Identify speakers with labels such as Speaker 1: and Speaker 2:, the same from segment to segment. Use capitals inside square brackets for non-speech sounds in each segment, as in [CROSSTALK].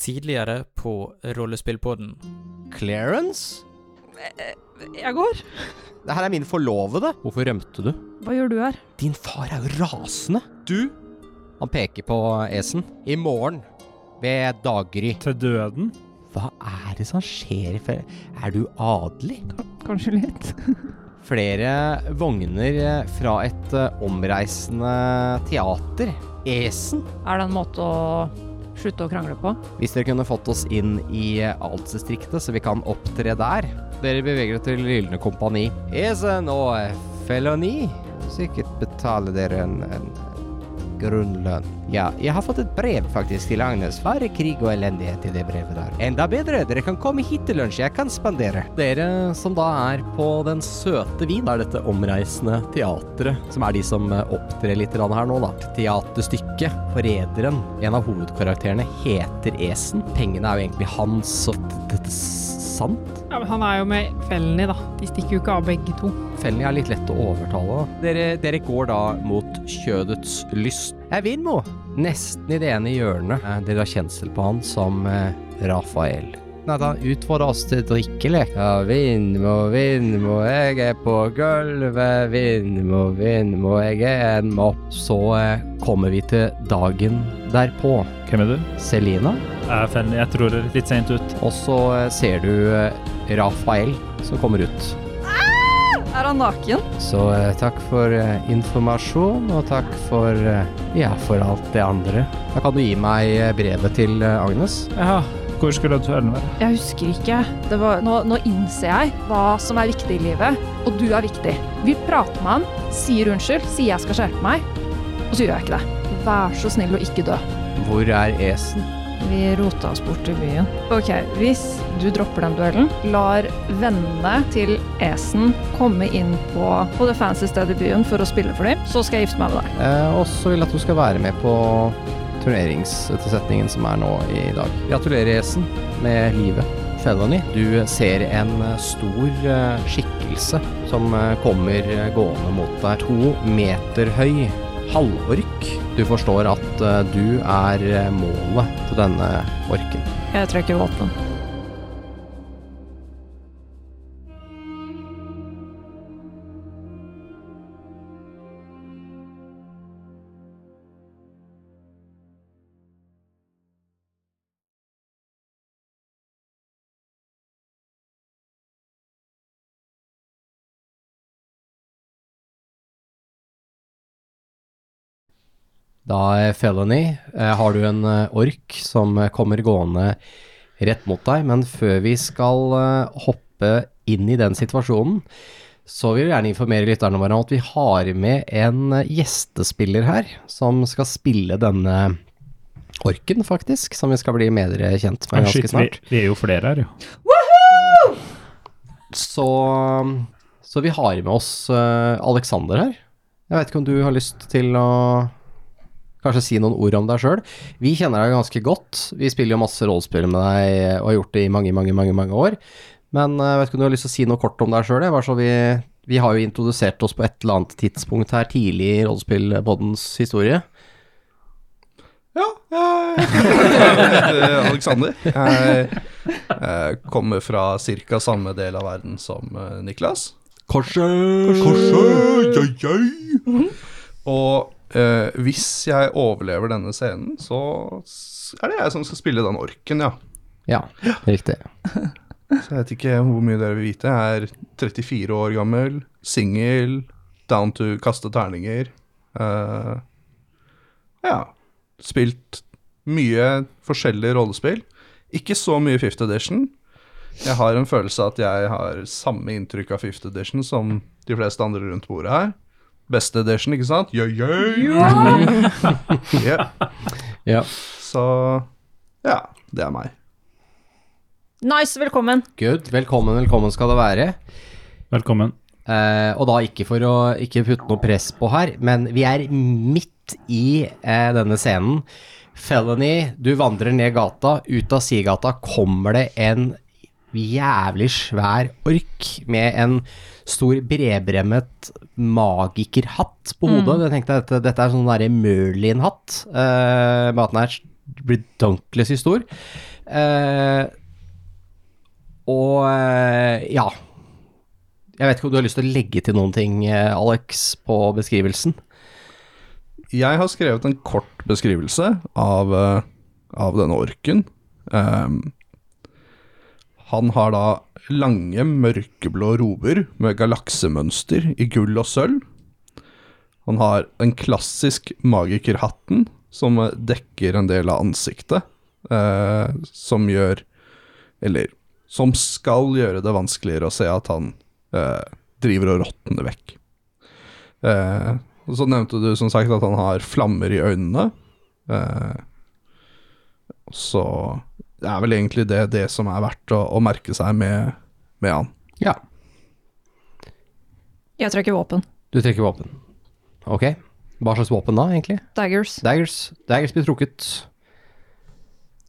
Speaker 1: tidligere på Rollespillpodden.
Speaker 2: Clarence?
Speaker 3: Jeg går.
Speaker 2: Det her er min forlovede.
Speaker 4: Hvorfor rømte du?
Speaker 3: Hva gjør du her?
Speaker 2: Din far er jo rasende. Du? Han peker på Esen. I morgen, ved daggry.
Speaker 5: Til døden?
Speaker 2: Hva er det som skjer? i fe- Er du adelig?
Speaker 3: Kanskje litt.
Speaker 2: Flere vogner eh, fra et eh, omreisende teater. Esen.
Speaker 3: Er det en måte å slutte å krangle på?
Speaker 2: Hvis dere kunne fått oss inn i eh, Altsdistriktet, så vi kan opptre der. Dere beveger dere til Gyldne kompani. Esen og eh, Feloni. Sikkert betaler dere en, en en grunnlønn. Ja, jeg har fått et brev faktisk til Agnes. Bare krig og elendighet i det brevet der. Enda bedre, dere kan komme hit til lunsj, jeg kan spandere.
Speaker 4: Dere som da er på Den søte vin, det er dette omreisende teatret som er de som eh, opptrer litt grann her nå, da. Teaterstykket Forræderen. En av hovedkarakterene heter Esen. Pengene er jo egentlig hans, og d- dette er sant?
Speaker 3: Ja, men Han er jo med Felny, da. De stikker jo ikke av begge to.
Speaker 4: Fellen er litt lett å overtale. da. Dere, dere går da mot kjødets lyst.
Speaker 2: Jeg vinner, Mo.
Speaker 4: Nesten i det ene hjørnet. Eh, Dere har kjensel på han som eh, Rafael.
Speaker 2: Nei, da utfordrer oss til drikkelek. Ja, Vindmo, Vindmo, jeg er på gulvet. Vindmo, Vindmo, jeg er en mopp.
Speaker 4: Så eh, kommer vi til dagen derpå.
Speaker 5: Hvem er du?
Speaker 4: Selina.
Speaker 5: Jeg, er Fenny. jeg tror det er litt sent ut.
Speaker 4: Og så eh, ser du eh, Rafael som kommer ut.
Speaker 3: Er han naken?
Speaker 4: Så eh, takk for eh, informasjon, og takk for eh, ja, for alt det andre. Da kan du gi meg eh, brevet til eh, Agnes.
Speaker 5: Ja, hvor skulle duellen være?
Speaker 3: Jeg husker ikke. Det var, nå, nå innser jeg hva som er viktig i livet, og du er viktig. Vi prater med han, sier unnskyld, sier jeg skal skjerpe meg, og så gjør jeg ikke det. Vær så snill å ikke dø.
Speaker 4: Hvor er Esen?
Speaker 3: Vi rota oss bort til byen. Ok, Hvis du dropper den duellen, lar vennene til Esen komme inn på, på det fancy stedet i byen for å spille for dem, så skal jeg gifte meg med deg.
Speaker 4: Eh, og så vil jeg at du skal være med på turneringssetningen som er nå i dag. Gratulerer, Esen, med livet. Felony, du ser en eh, stor eh, skikkelse som eh, kommer eh, gående mot deg. To meter høy halvork. Du forstår at eh, du er eh, målet til denne orken.
Speaker 3: Jeg trekker våpen.
Speaker 4: Da, eh, Felony, eh, har du en eh, ork som eh, kommer gående rett mot deg, men før vi skal eh, hoppe inn i den situasjonen, så vil vi gjerne informere lytterne våre om at vi har med en eh, gjestespiller her, som skal spille denne orken, faktisk, som vi skal bli mer eh, kjent med ganske
Speaker 5: Shit, vi,
Speaker 4: snart.
Speaker 5: vi er jo flere her, jo.
Speaker 4: Så, så vi har med oss eh, Alexander her. Jeg vet ikke om du har lyst til å kanskje si noen ord om deg sjøl. Vi kjenner deg ganske godt. Vi spiller jo masse rollespill med deg og har gjort det i mange, mange, mange mange år. Men eh, jeg vet ikke om du har lyst til å si noe kort om deg sjøl? Vi, vi har jo introdusert oss på et eller annet tidspunkt her tidlig i rollespillpoddens historie.
Speaker 6: Ja, jeg heter Alexander. Jeg eh, kommer fra ca. samme del av verden som eh, Niklas.
Speaker 4: Kanskje
Speaker 6: Kanskje, ja, ja. Og eh, hvis jeg overlever denne scenen, så s- er det jeg som skal spille den orken, ja.
Speaker 4: Ja, riktig.
Speaker 6: Så jeg vet ikke hvor mye dere vil vite. Jeg er 34 år gammel, singel, down to kaste terninger. Eh, ja. Spilt mye forskjellige rollespill. Ikke så mye Fifth Edition. Jeg har en følelse av at jeg har samme inntrykk av Fifth Edition som de fleste andre rundt bordet her. Beste edition, ikke sant? Yo, yo, [LAUGHS] Yep.
Speaker 4: Ja.
Speaker 6: Så ja, det er meg.
Speaker 3: Nice, velkommen.
Speaker 4: Good. Velkommen, velkommen skal det være.
Speaker 5: Velkommen.
Speaker 4: Eh, og da ikke for å ikke putte noe press på her, men vi er midt i eh, denne scenen. Felony, du vandrer ned gata, ut av sidegata kommer det en jævlig svær ork med en stor bredbremmet magikerhatt på hodet. Jeg tenkte at dette, dette er sånn derre Merlin-hatt, eh, med at den er ridiculous stor. Eh, og eh, ja. Jeg vet ikke om du har lyst til å legge til noen ting, eh, Alex, på beskrivelsen?
Speaker 6: Jeg har skrevet en kort beskrivelse av, eh, av denne orken. Ehm, han har da lange, mørkeblå rober med galaksemønster i gull og sølv. Han har den klassisk magikerhatten som eh, dekker en del av ansiktet, eh, som gjør Eller som skal gjøre det vanskeligere å se at han eh, driver og råtner vekk. Eh, og så nevnte du som sagt at han har flammer i øynene. Eh, så det er vel egentlig det, det som er verdt å, å merke seg med, med han.
Speaker 4: Ja.
Speaker 3: Jeg trekker våpen.
Speaker 4: Du trekker våpen. Ok. Hva slags våpen da, egentlig?
Speaker 3: Daggers.
Speaker 4: Daggers. Daggers blir trukket.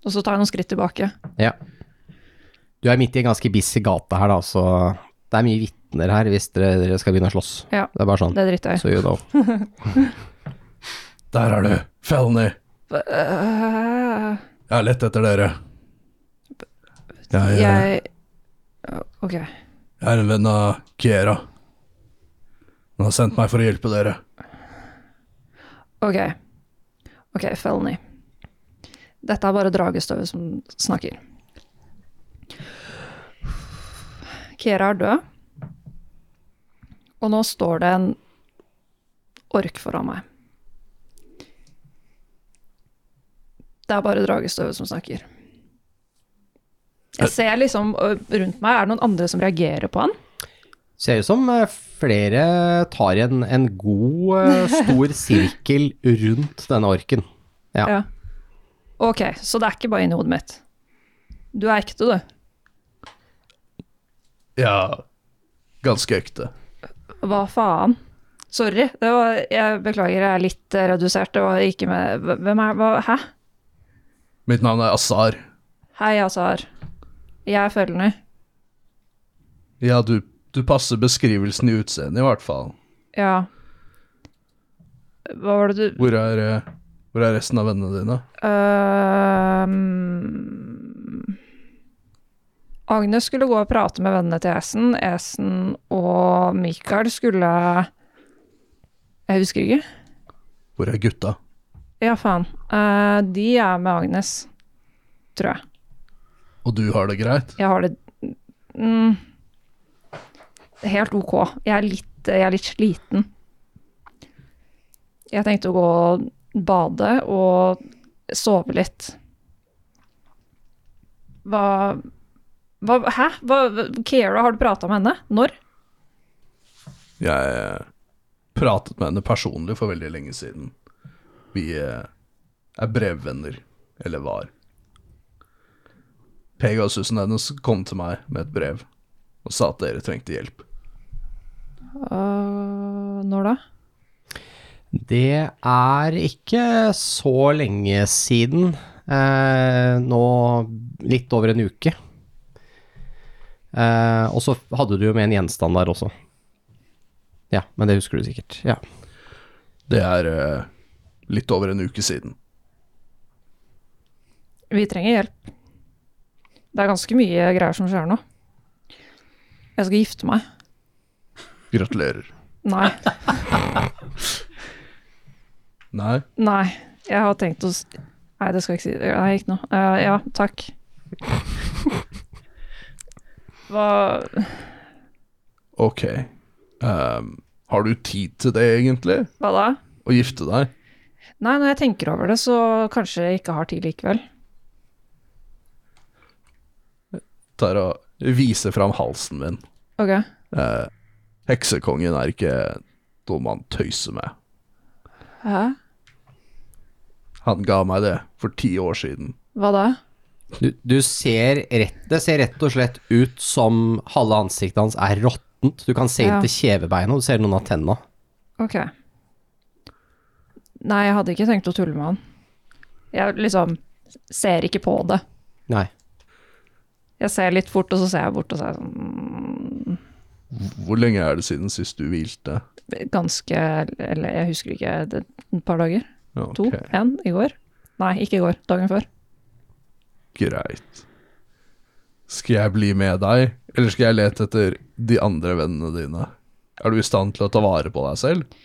Speaker 3: Og så tar jeg noen skritt tilbake.
Speaker 4: Ja. Du er midt i en ganske busy gate her, da, så det er mye vitner her hvis dere, dere skal begynne å slåss.
Speaker 3: Ja,
Speaker 4: Det er bare sånn.
Speaker 3: det driter jeg i.
Speaker 4: So you know.
Speaker 6: Der er du, Felny.
Speaker 3: Øh,
Speaker 6: Jeg har lett etter dere. Jeg, jeg
Speaker 3: Jeg Ok.
Speaker 6: er en venn av Kiera. Han har sendt meg for å hjelpe dere.
Speaker 3: Ok. Ok, felony. Dette er bare dragestøvet som snakker. Kiera er død. Og nå står det en ork foran meg. Det er bare dragestøvet som snakker. Jeg ser liksom ø, rundt meg, er det noen andre som reagerer på han?
Speaker 4: Ser ut som eh, flere tar en, en god, eh,
Speaker 3: [LAUGHS]
Speaker 4: stor sirkel rundt denne orken. Ja.
Speaker 3: Ja. Ok, så det er ikke bare inni hodet mitt. Du er ekte, du.
Speaker 6: Ja, ganske ekte.
Speaker 3: Hva faen? Sorry, det var, jeg beklager, jeg er litt eh, redusert. Det var ikke med Hvem er hva, Hæ?
Speaker 6: Mitt navn er Azar.
Speaker 3: Hei, Azar. Jeg er følgende.
Speaker 6: Ja, du, du passer beskrivelsen i utseendet, i hvert fall.
Speaker 3: Ja. Hva var det du
Speaker 6: Hvor er, eh, hvor er resten av vennene dine?
Speaker 3: Øhm, ehm, Agnes skulle gå og prate med vennene til Esen. Esen og Mikael skulle Jeg husker ikke.
Speaker 6: Hvor er gutta?
Speaker 3: Ja, faen. Eh, de er med Agnes, tror jeg.
Speaker 6: Og du har det greit?
Speaker 3: Jeg har det mm, helt ok. Jeg er, litt, jeg er litt sliten. Jeg tenkte å gå og bade og sove litt. Hva, hva Hæ? Hva, Kiera, har du prata med henne? Når?
Speaker 6: Jeg eh, pratet med henne personlig for veldig lenge siden. Vi eh, er brevvenner, eller var. Pegasusen hennes kom til meg med et brev og sa at dere trengte hjelp.
Speaker 3: Øh, når da?
Speaker 4: Det er ikke så lenge siden. Eh, nå litt over en uke. Eh, og så hadde du jo med en gjenstand der også. Ja, men det husker du sikkert. Ja.
Speaker 6: Det er eh, litt over en uke siden.
Speaker 3: Vi trenger hjelp. Det er ganske mye greier som skjer nå. Jeg skal gifte meg.
Speaker 6: Gratulerer.
Speaker 3: Nei.
Speaker 6: Nei,
Speaker 3: Nei, jeg har tenkt å s- Nei, det skal jeg ikke si. Nei, ikke noe. Eh, ja, takk. Hva
Speaker 6: ok. Ehm, har du tid til det, egentlig?
Speaker 3: Hva da?
Speaker 6: Å gifte deg?
Speaker 3: Nei, når jeg tenker over det, så kanskje jeg ikke har tid likevel.
Speaker 6: Tar og viser fram halsen min.
Speaker 3: Ok.
Speaker 6: Eh, heksekongen er ikke noe man tøyser med.
Speaker 3: Hæ?
Speaker 6: Han ga meg det for ti år siden.
Speaker 3: Hva da?
Speaker 4: Du, du ser rett, det ser rett og slett ut som halve ansiktet hans er råttent. Du kan se
Speaker 3: Ja.
Speaker 4: inn til kjevebeina, og du ser noen av tenna.
Speaker 3: Ok. Nei, jeg hadde ikke tenkt å tulle med han. Jeg liksom ser ikke på det.
Speaker 4: Nei.
Speaker 3: Jeg ser litt fort, og så ser jeg bort og så er jeg sånn
Speaker 6: Hvor lenge er det siden sist du hvilte?
Speaker 3: mm, Ganske Eller jeg husker ikke. Det, et par dager.
Speaker 6: Ja, ok.
Speaker 3: To. Én i går. Nei, ikke i går. Dagen før.
Speaker 6: Greit. Skal jeg bli med deg, eller skal jeg lete etter de andre vennene dine? Er du i stand til å ta vare på deg selv?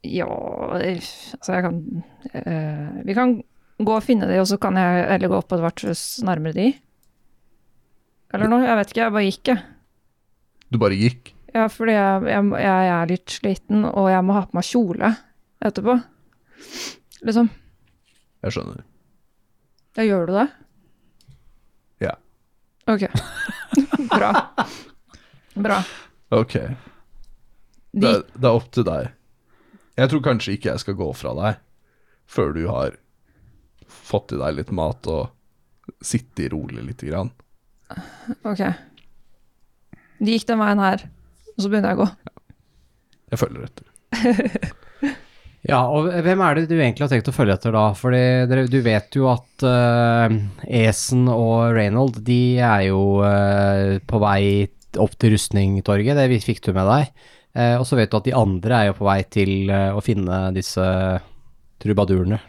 Speaker 3: Ja Altså, jeg kan eh, Vi kan gå og finne de, og så kan jeg heller gå opp på et vertshus nærmere de. Eller noe. Jeg vet ikke, jeg bare gikk, jeg.
Speaker 6: Du bare gikk.
Speaker 3: Ja, fordi jeg, jeg, jeg er litt sliten, og jeg må ha på meg kjole etterpå. Liksom.
Speaker 6: Jeg skjønner.
Speaker 3: Ja, gjør du det?
Speaker 6: Ja.
Speaker 3: Ok. [LAUGHS] Bra. Bra.
Speaker 6: Ok, det,
Speaker 3: De,
Speaker 6: det er opp til deg. Jeg tror kanskje ikke jeg skal gå fra deg før du har fått i deg litt mat og sittet rolig lite grann.
Speaker 3: ok. De gikk den veien her, og så begynner jeg å gå.
Speaker 6: Jeg følger etter.
Speaker 4: Ja, og hvem er det du egentlig har tenkt å følge etter da? Fordi dere, du vet jo at eh, Esen og Reynold, de er jo eh, på vei opp til Rustningtorget, det vi- fikk du med deg. Eh, og så vet du at de andre er jo på vei til eh, å finne disse trubadurene.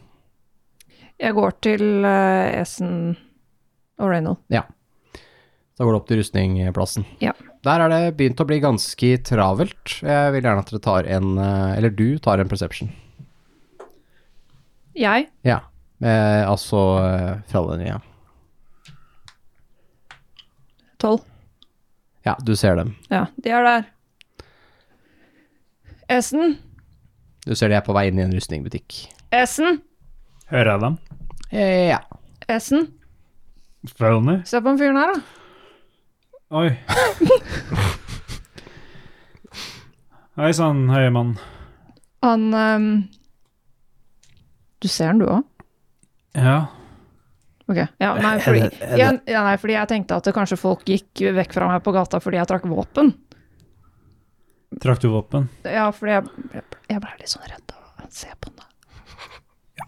Speaker 3: Jeg går til eh, Esen og Reynold.
Speaker 4: Da går det opp til rustningplassen.
Speaker 3: Ja.
Speaker 4: Der er det begynt å bli ganske travelt. Jeg vil gjerne at dere tar en, eh, eller du tar en perception.
Speaker 3: Jeg?
Speaker 4: Ja, eh, altså eh, fra den, ja.
Speaker 3: Tolv.
Speaker 4: Ja, du ser dem.
Speaker 3: Ja, de er der. Esen?
Speaker 4: Du ser de er på vei inn i en rustningbutikk.
Speaker 3: Esen?
Speaker 5: Hører jeg dem?
Speaker 4: Eh, ja.
Speaker 3: Esen?
Speaker 5: Følg med.
Speaker 3: Se på den fyren her, da.
Speaker 5: [LAUGHS] Oi. Hei sann, høye mann.
Speaker 3: Han ehm, Du ser den, du òg?
Speaker 5: Ja.
Speaker 3: Ok. Ja, nei, fordi, ja, ja, nei, fordi jeg tenkte at det kanskje folk gikk vekk fra meg på gata fordi jeg trakk våpen.
Speaker 5: Trakk du våpen?
Speaker 3: Ja, fordi jeg, jeg, jeg ble litt sånn redd av å se på den. da.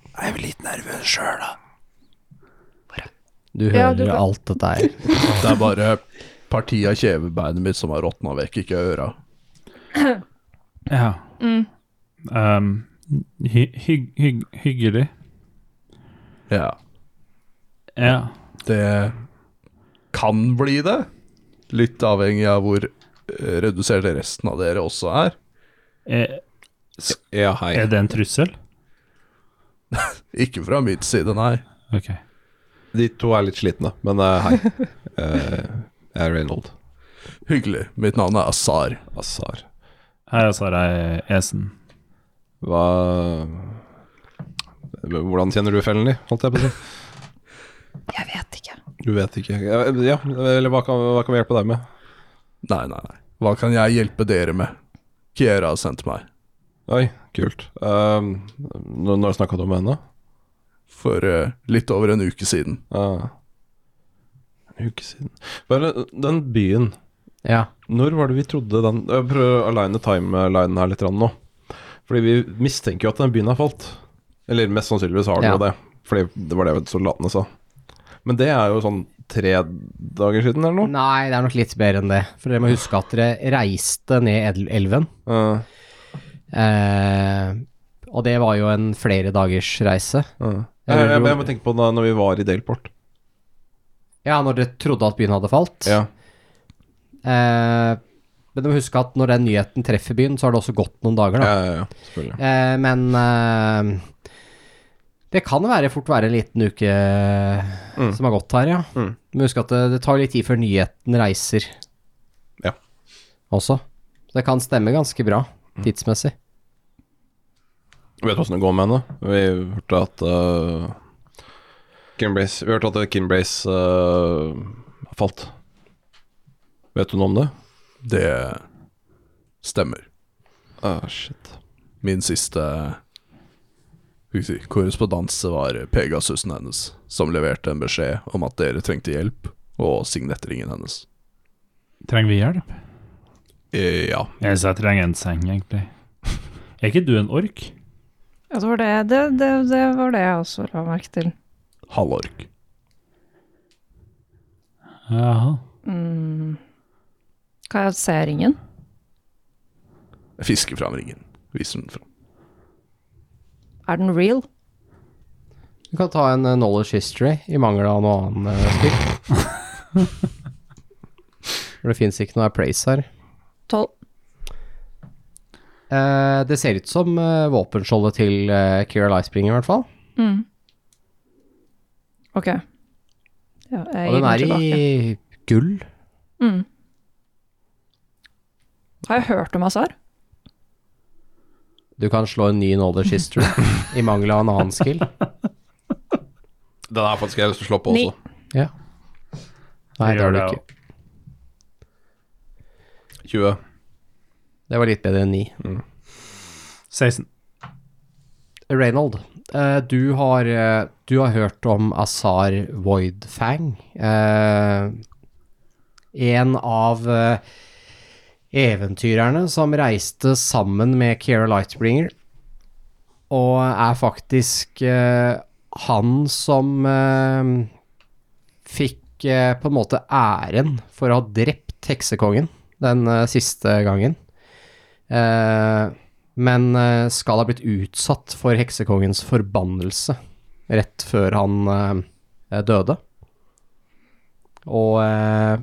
Speaker 4: Du hører
Speaker 3: Ja, du kan-
Speaker 4: alt dette her.
Speaker 6: Det er bare partiet av kjevebeinet mitt som har råtna vekk, ikke øra.
Speaker 5: Ja.
Speaker 3: Mm.
Speaker 5: Um, hy hygg hygg hyggelig.
Speaker 6: Ja.
Speaker 5: Ja.
Speaker 6: Det kan bli det. Litt avhengig av hvor eh, redusert resten av dere også er.
Speaker 5: Er,
Speaker 7: Ja, hei.
Speaker 5: er det en trussel?
Speaker 6: Ikke fra min side, nei.
Speaker 5: Ok.
Speaker 7: De to er litt slitne, men eh, hei. Eh, jeg er Reynold
Speaker 6: Hyggelig. Mitt navn er Azar.
Speaker 7: Azar.
Speaker 5: Her er Sarai Esen.
Speaker 7: Hva Hvordan kjenner du fellen din, holdt jeg på å si?
Speaker 3: Jeg vet ikke.
Speaker 7: Du vet ikke. Ja, ja, eller hva kan, hva kan vi hjelpe deg med?
Speaker 6: Nei, nei, nei. Hva kan jeg hjelpe dere med? Kiera har sendt meg.
Speaker 7: Oi, kult. Um, når når snakka du med henne?
Speaker 6: For eh, litt over en uke siden.
Speaker 7: Ah. En uke siden. Hva er det, den byen
Speaker 4: Ja.
Speaker 7: Når var det vi trodde den Jeg prøver å aligne timelinen her litt grann nå. Fordi vi mistenker jo at den byen har falt. Eller mest sannsynligvis har den
Speaker 4: Ja.
Speaker 7: jo det. Fordi det var det soldatene sa. Men det er jo sånn tre dager siden eller noe.
Speaker 4: Nei, det er nok litt bedre enn det. For dere må huske at dere reiste ned edel- elven.
Speaker 7: Eh,
Speaker 4: Eh, og det var jo en flere dagers reise.
Speaker 7: eh. Jeg, jeg, jeg, må tenke på da når vi var i Daleport.
Speaker 4: Ja, når dere trodde at byen hadde falt.
Speaker 7: Ja.
Speaker 4: Eh, men du må huske at når den nyheten treffer byen, så har det også gått noen dager,
Speaker 7: Ja,
Speaker 4: da.
Speaker 7: ja, ja, selvfølgelig.
Speaker 4: Eh, men eh, det kan være fort være en liten uke som har gått her, ja.
Speaker 7: Mm.
Speaker 4: Men husk at det, det tar litt tid før nyheten reiser.
Speaker 7: Ja.
Speaker 4: Også. Så det kan stemme ganske bra
Speaker 7: Mm.
Speaker 4: tidsmessig.
Speaker 7: Vet du åssen det går med henne? Vi hørte at uh, Kimbrace, Vi hørte at Kimbrace uh, har falt. Vet du noe om det?
Speaker 6: Det stemmer.
Speaker 7: Ah, shit.
Speaker 6: Min siste skal vi si, korrespondanse var Pegasusen hennes, som leverte en beskjed om at dere trengte hjelp, og signetringen hennes.
Speaker 5: Trenger vi hjelp?
Speaker 7: Eh, ja.
Speaker 5: Jeg sa jeg trenger en seng, egentlig. Er ikke du en ork?
Speaker 3: Ja, det var det, det, det, det, var det jeg også la merke til.
Speaker 6: Halvork.
Speaker 5: Jaha.
Speaker 3: Mm. Kan jeg se ringen?
Speaker 6: Jeg fisker fram ringen. Viser den fram.
Speaker 3: Er den real?
Speaker 4: Du kan ta en eh, knowledge history i mangel av noe annet eh, spill.
Speaker 7: [LAUGHS]
Speaker 4: For det fins ikke noe appraise her.
Speaker 3: Tolv.
Speaker 4: Eh, det ser ut som eh, våpenskjoldet til eh, Kira Lightspringer, i hvert fall.
Speaker 3: Mm. OK. Ja, jeg
Speaker 4: Og den
Speaker 3: gir den
Speaker 4: er
Speaker 3: tilbake.
Speaker 4: i gull.
Speaker 3: Mm. Har jeg hørt om Azar?
Speaker 4: Du kan slå en ny knowledge history i mangel av en annen skill.
Speaker 7: Den har faktisk jeg lyst til å slå på
Speaker 3: Ni.
Speaker 7: også.
Speaker 4: Ja. Nei,
Speaker 5: Jeg
Speaker 4: det har
Speaker 5: gjør
Speaker 4: du
Speaker 5: det,
Speaker 4: ikke.
Speaker 7: 20.
Speaker 4: Det var litt bedre enn ni.
Speaker 5: 16.
Speaker 4: Reynold, eh, du, har, eh, du har hørt om Azar Voidfang. Eh, en av eh, eventyrerne som reiste sammen med Keira Lightbringer. Og er faktisk eh, han som eh, fikk eh, på en måte æren for å ha drept heksekongen den eh, siste gangen. Eh, men eh, skal ha blitt utsatt for heksekongens forbannelse rett før han eh, døde. Og eh,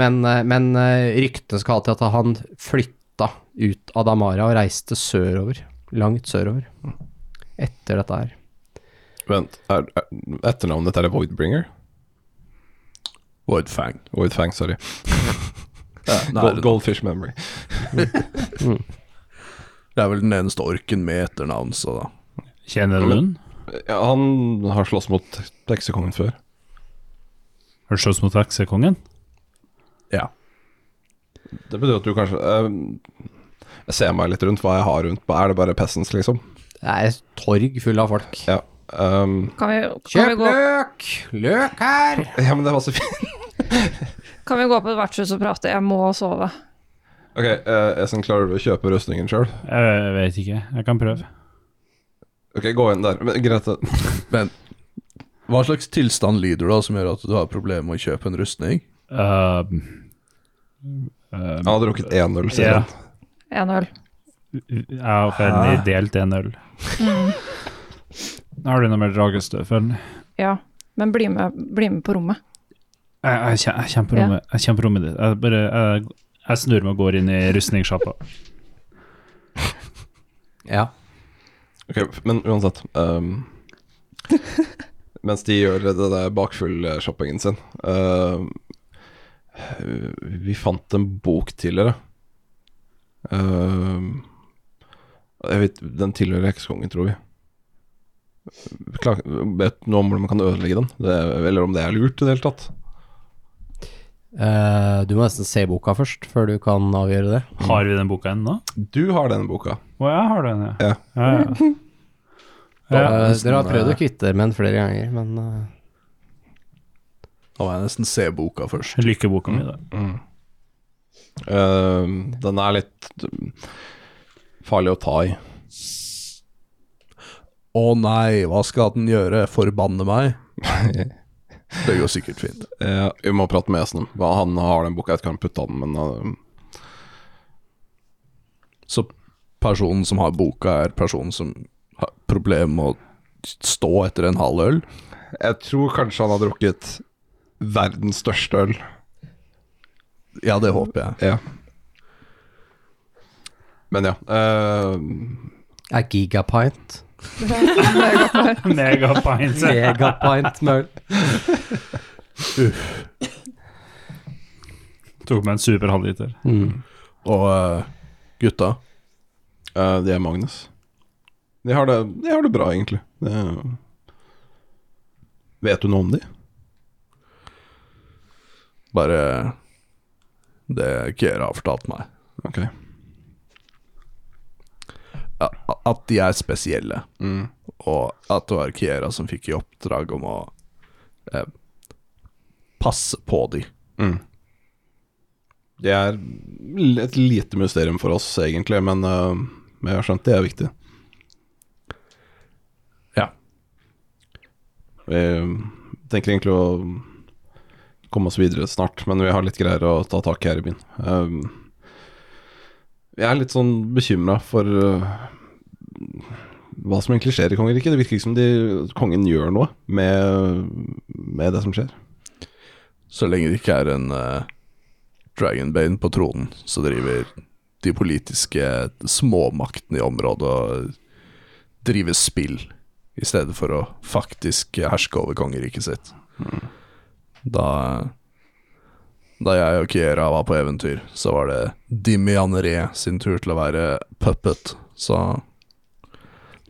Speaker 4: Men, eh, men eh, ryktene skal ha til at han flytta ut av Damara og reiste sørover. Langt sørover. Etter dette her.
Speaker 7: Vent, er, er etternavnet er det Voidbringer? Voidfang. Voidfang, sorry.
Speaker 6: [LAUGHS]
Speaker 7: Gold, goldfish memory.
Speaker 6: Det er vel den eneste orken med etternavn, så da.
Speaker 5: Kjenner du den?
Speaker 7: Ja, han har slåss mot heksekongen før.
Speaker 5: Har du slåss mot heksekongen?
Speaker 7: Ja. Det betyr at du kanskje eh, Jeg ser meg litt rundt hva jeg har rundt meg. Er det bare Peasants, liksom?
Speaker 4: Det er et torg full av folk.
Speaker 7: Ja. ehm,
Speaker 3: Kan vi, kan, vi
Speaker 4: Kjøp
Speaker 3: gå,
Speaker 4: løk! Løk her!
Speaker 7: ja, men det var så fint. [LAUGHS]
Speaker 3: kan vi gå på et vertshus og prate? Jeg må sove.
Speaker 7: Ok, eh, Esen, klarer du å kjøpe rustningen sjøl?
Speaker 5: Jeg vet ikke. Jeg kan prøve.
Speaker 7: Ok, gå inn der. Men, Grete,
Speaker 6: Hva slags tilstand lider du av som gjør at du har problemer med å kjøpe en rustning?
Speaker 5: Uh,
Speaker 7: han
Speaker 5: um,
Speaker 7: har drukket én øl, sier
Speaker 5: ja.
Speaker 7: han.
Speaker 3: En øl.
Speaker 5: Jeg har ferdig delt en øl. Har du noe mer dragestøv for den?
Speaker 3: Ja. Men bli med, bli med på rommet.
Speaker 5: Jeg, jeg, kje- jeg kommer på
Speaker 3: Ja.
Speaker 5: rommet, jeg kommer på rommet ditt. Jeg, bare, jeg, jeg snur meg og går inn i rustningssjappa.
Speaker 4: Ja.
Speaker 7: Ok, men uansett ehm, Mens de gjør det der bakfull-shoppingen sin ehm, Vi fant en bok tidligere Ehm, jeg vet, Den tilhører heksekongen, tror vi Klar, Vet du noe om hvordan man kan ødelegge den? Det, eller om det er lurt i det hele tatt?
Speaker 4: Eh, du må nesten se boka først, før du kan avgjøre det.
Speaker 5: Har vi den boka ennå?
Speaker 7: Du har denne boka
Speaker 5: Å, jeg har den, ja.
Speaker 7: Ja.
Speaker 5: ja. ja. ja.
Speaker 4: Eh,
Speaker 6: nesten,
Speaker 4: dere har prøvd
Speaker 6: eh,
Speaker 4: å kvitte dere med den flere ganger, men eh,
Speaker 6: Da må jeg nesten se boka først.
Speaker 5: Lykkeboka [LAUGHS] mi, da.
Speaker 7: Ehm, Den er litt mm, farlig å ta i
Speaker 6: Å nei, hva skal den gjøre? Forbanne
Speaker 7: [LAUGHS]
Speaker 6: meg? Det går sikkert fint.
Speaker 7: Eh, vi må prate med Esen. Hva Han har den boka, jeg kan putte den, men eh,
Speaker 6: Så personen som har boka, er personen som har problemer med å stå etter en halv øl?
Speaker 7: Jeg tror kanskje han har drukket verdens største øl.
Speaker 6: Ja, det håper jeg.
Speaker 7: Ja. Men ja. eh,
Speaker 4: er gigapint.
Speaker 5: Megapint.
Speaker 4: Megapint med øl.
Speaker 5: Tok meg en super halvliter.
Speaker 6: Og eh, gutta,
Speaker 7: eh, det er Magnus. De har det, de har det bra, egentlig. Det er- vet du noe om de?
Speaker 6: bare det Kiera har fortalt meg.
Speaker 7: Ok.
Speaker 6: Ja, At de er spesielle.
Speaker 7: Mm.
Speaker 6: og at det var Kiera som fikk i oppdrag om å eh, passe på de.
Speaker 7: Mm. Det er l- et lite mysterium for oss, egentlig, men eh, men jeg har skjønt det er viktig.
Speaker 6: Ja.
Speaker 7: Vi Eh, tenker egentlig å komme oss videre snart, men vi har litt greier å ta tak i her i byen. Um, jeg er litt sånn bekymra for uh, eh, hva som egentlig skjer i kongeriket. Det virker ikke som de, kongen gjør noe med, med det som skjer.
Speaker 8: Så lenge det ikke er en eh, Dragonbane på tronen, så driver de politiske småmaktene i området og driver spill, i stedet for å faktisk herske over kongeriket sitt. Da, da jeg og Kiera var på eventyr, så var det Dimianeré sin tur til å være puppet, så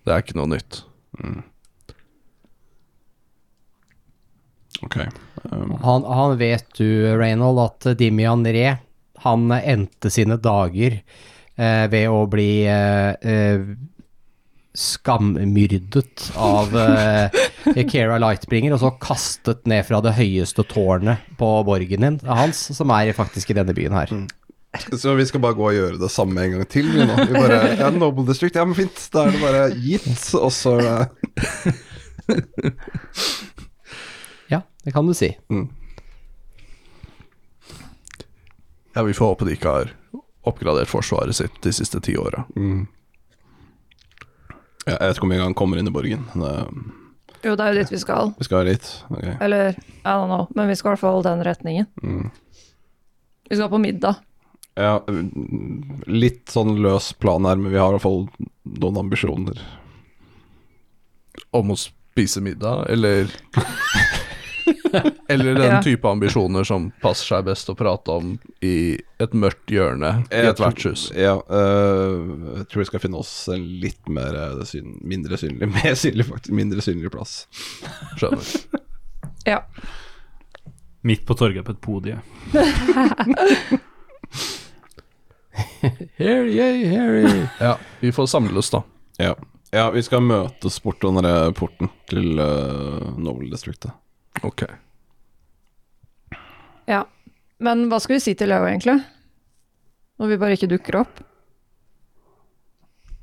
Speaker 8: det er ikke noe nytt.
Speaker 7: Ok.
Speaker 4: Han, han vet du, Reynold, at Dimian Re, han endte sine dager eh, ved å bli eh, eh, skammyrdet av eh, Kera Lightbringer, og så kastet ned fra det høyeste tårnet på borgen din, hans, som er faktisk i denne byen her.
Speaker 7: Så vi skal bare gå og gjøre det samme en gang til, vi nå. Vi bare, [LAUGHS] ja, Noble District, ja, men fint. Da er det bare gitt, og så eh,
Speaker 4: Ja, det kan du si.
Speaker 8: Ja, vi får håpe de ikke har oppgradert forsvaret sitt de siste ti åra.
Speaker 7: ja, Jeg vet ikke hvor mye han kommer inn i borgen. Det,
Speaker 3: Jo, det er jo dit vi skal.
Speaker 7: vi skal litt. Ok.
Speaker 3: Eller, I don't know, men vi skal i hvert fall den retningen.
Speaker 7: Mm.
Speaker 3: Vi skal på middag.
Speaker 7: Ja, mm, litt sånn løs plan her, men vi har i hvert fall noen ambisjoner.
Speaker 8: Om å spise middag, eller Eller den
Speaker 3: Ja.
Speaker 8: type ambisjoner som passer seg best å prate om i et mørkt hjørne i
Speaker 7: Jeg
Speaker 8: et
Speaker 7: tror-
Speaker 8: vertshus.
Speaker 7: Ja, øh, jeg tror vi skal finne oss en litt mer eh, syn, mindre synlig, [LAUGHS] mer synlig faktisk, mindre synlig plass.
Speaker 8: Skjønner.
Speaker 3: Ja.
Speaker 5: Midt på torget på et podie.
Speaker 4: Here, yay, here.
Speaker 8: Ja, vi får samles, da.
Speaker 7: Ja, ja vi skal møtes bortom den der porten til
Speaker 8: eh,
Speaker 7: uh, Noble Districtet.
Speaker 8: Ok.
Speaker 3: ja. Men hva skal vi si til Leo, egentlig? Når vi bare ikke dukker opp?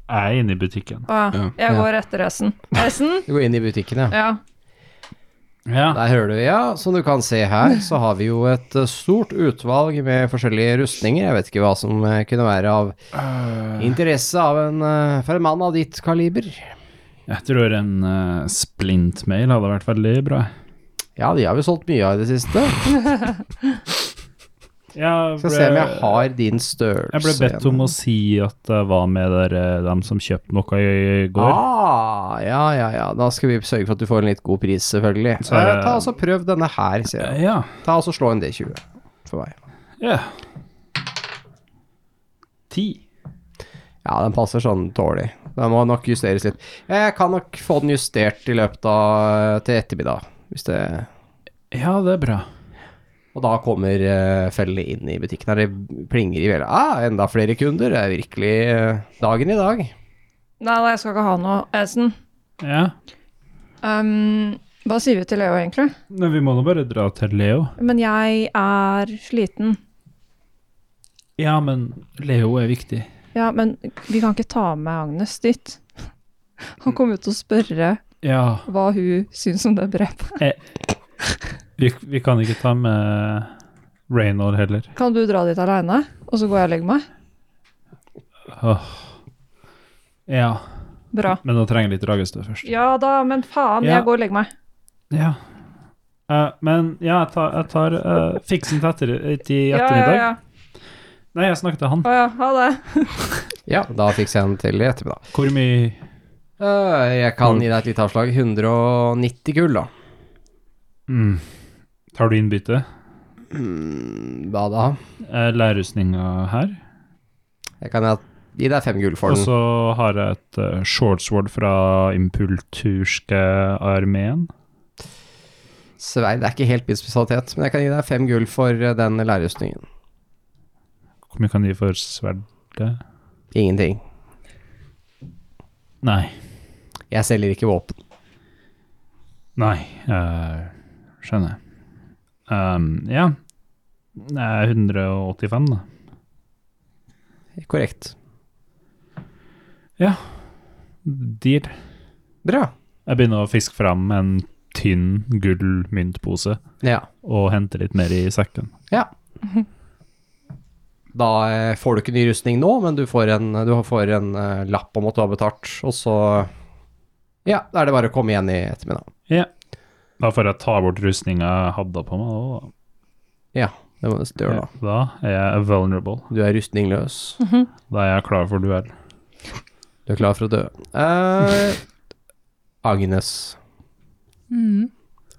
Speaker 5: Jeg er inne i butikken.
Speaker 3: Ah,
Speaker 7: Ja.
Speaker 3: jeg går etter S-en. S-en?
Speaker 4: Du går inn i butikken, ja.
Speaker 3: Ja.
Speaker 5: Ja,
Speaker 4: Der hører du, ja. Som du kan se her, så har vi jo et eh, stort utvalg med forskjellige rustninger. Jeg vet ikke hva som eh, kunne være av
Speaker 5: Eh.
Speaker 4: interesse av en, eh, for en mann av ditt kaliber.
Speaker 5: jeg tror en eh, splintmail hadde vært veldig bra.
Speaker 4: Ja, de har vi solgt mye av i det siste.
Speaker 5: Jeg
Speaker 4: Skal se om jeg har din størrelse.
Speaker 5: Jeg ble bedt om å si at jeg var med der, eh, dem som kjøpte noe i går.
Speaker 4: Ah, ja, ja, ja. Da skal vi sørge for at du får en litt god pris, selvfølgelig.
Speaker 5: Så er det-
Speaker 4: Eh, Ta og så Prøv denne her, sier jeg.
Speaker 5: Eh, Ja.
Speaker 4: Ta og så Slå en D20 for meg.
Speaker 5: ja. Ti.
Speaker 4: Ja, den passer sånn dårlig. Den må nok justeres litt. Jeg kan nok få den justert i løpet av til ettermiddag, hvis det
Speaker 5: Ja, det er bra.
Speaker 4: Og da kommer uh, fellene inn i butikken her. Det plinger i veldig Ah, enda flere kunder. Det er virkelig eh, dagen i dag.
Speaker 3: Nei, nei, jeg skal ikke ha noe S-en.
Speaker 5: Ja.
Speaker 3: Um, hva sier vi til Leo, egentlig?
Speaker 5: Nei, vi må nå bare dra til Leo.
Speaker 3: Men jeg er sliten.
Speaker 5: Ja, men Leo er viktig.
Speaker 3: Ja, men vi kan ikke ta med Agnes dit. Han kommer jo til å spørre
Speaker 5: Ja,
Speaker 3: hva hun syns om det brevet.
Speaker 5: vi, vi kan ikke ta med Reynold heller.
Speaker 3: Kan du dra dit aleine, og så går jeg og legger meg?
Speaker 5: Åh. Ja,
Speaker 3: Bra.
Speaker 5: men da trenger jeg litt dragestø først.
Speaker 3: Ja da, men faen,
Speaker 5: Ja.
Speaker 3: jeg går og legger meg.
Speaker 5: Ja. Eh, men ja, jeg tar, jeg tar eh, fiksen til etter, til ettermiddag.
Speaker 3: Ja, ja,
Speaker 5: Nei, jeg snakket til han.
Speaker 3: ja. Å ja, ha [LAUGHS] det.
Speaker 4: Ja, da fikser jeg den til i ettermiddag.
Speaker 5: Hvor mye
Speaker 4: Eh, jeg kan gi deg et lite avslag. 190 gull, da.
Speaker 5: mm. Tar du innbytte?
Speaker 4: Mm, Hva da?
Speaker 5: Uh, Lærrustninga her.
Speaker 4: Jeg kan gi deg fem gull for
Speaker 5: Og
Speaker 4: den.
Speaker 5: så har jeg et eh, shortsword fra impulturske armeen.
Speaker 4: Sverd er ikke helt min spesialitet, men jeg kan gi deg fem gull for eh, den lærerrustningen.
Speaker 5: Hvor mye kan de for sverdet?
Speaker 4: Ingenting.
Speaker 5: Nei.
Speaker 4: Jeg selger ikke våpen.
Speaker 5: Nei, eh, skjønner. Um, ja, det er 185 da.
Speaker 4: Korrekt.
Speaker 5: Deal.
Speaker 4: Bra.
Speaker 5: Jeg begynner å fiske fram en tynn gull myntpose
Speaker 4: Ja.
Speaker 5: og hente litt mer i sekken.
Speaker 4: Da eh, får du ikke ny rustning nå, men du får en, du får en eh, lapp om at du har betalt, og så Ja, da er det bare å komme igjen i ettermiddag.
Speaker 5: Da får jeg ta bort rustninga jeg hadde på meg. og
Speaker 4: Det må du gjøre da.
Speaker 5: Da er jeg vulnerable.
Speaker 4: Du er rustningløs.
Speaker 5: Da er jeg klar for duell.
Speaker 4: Du er klar for å dø. Eh, Agnes
Speaker 9: Mm.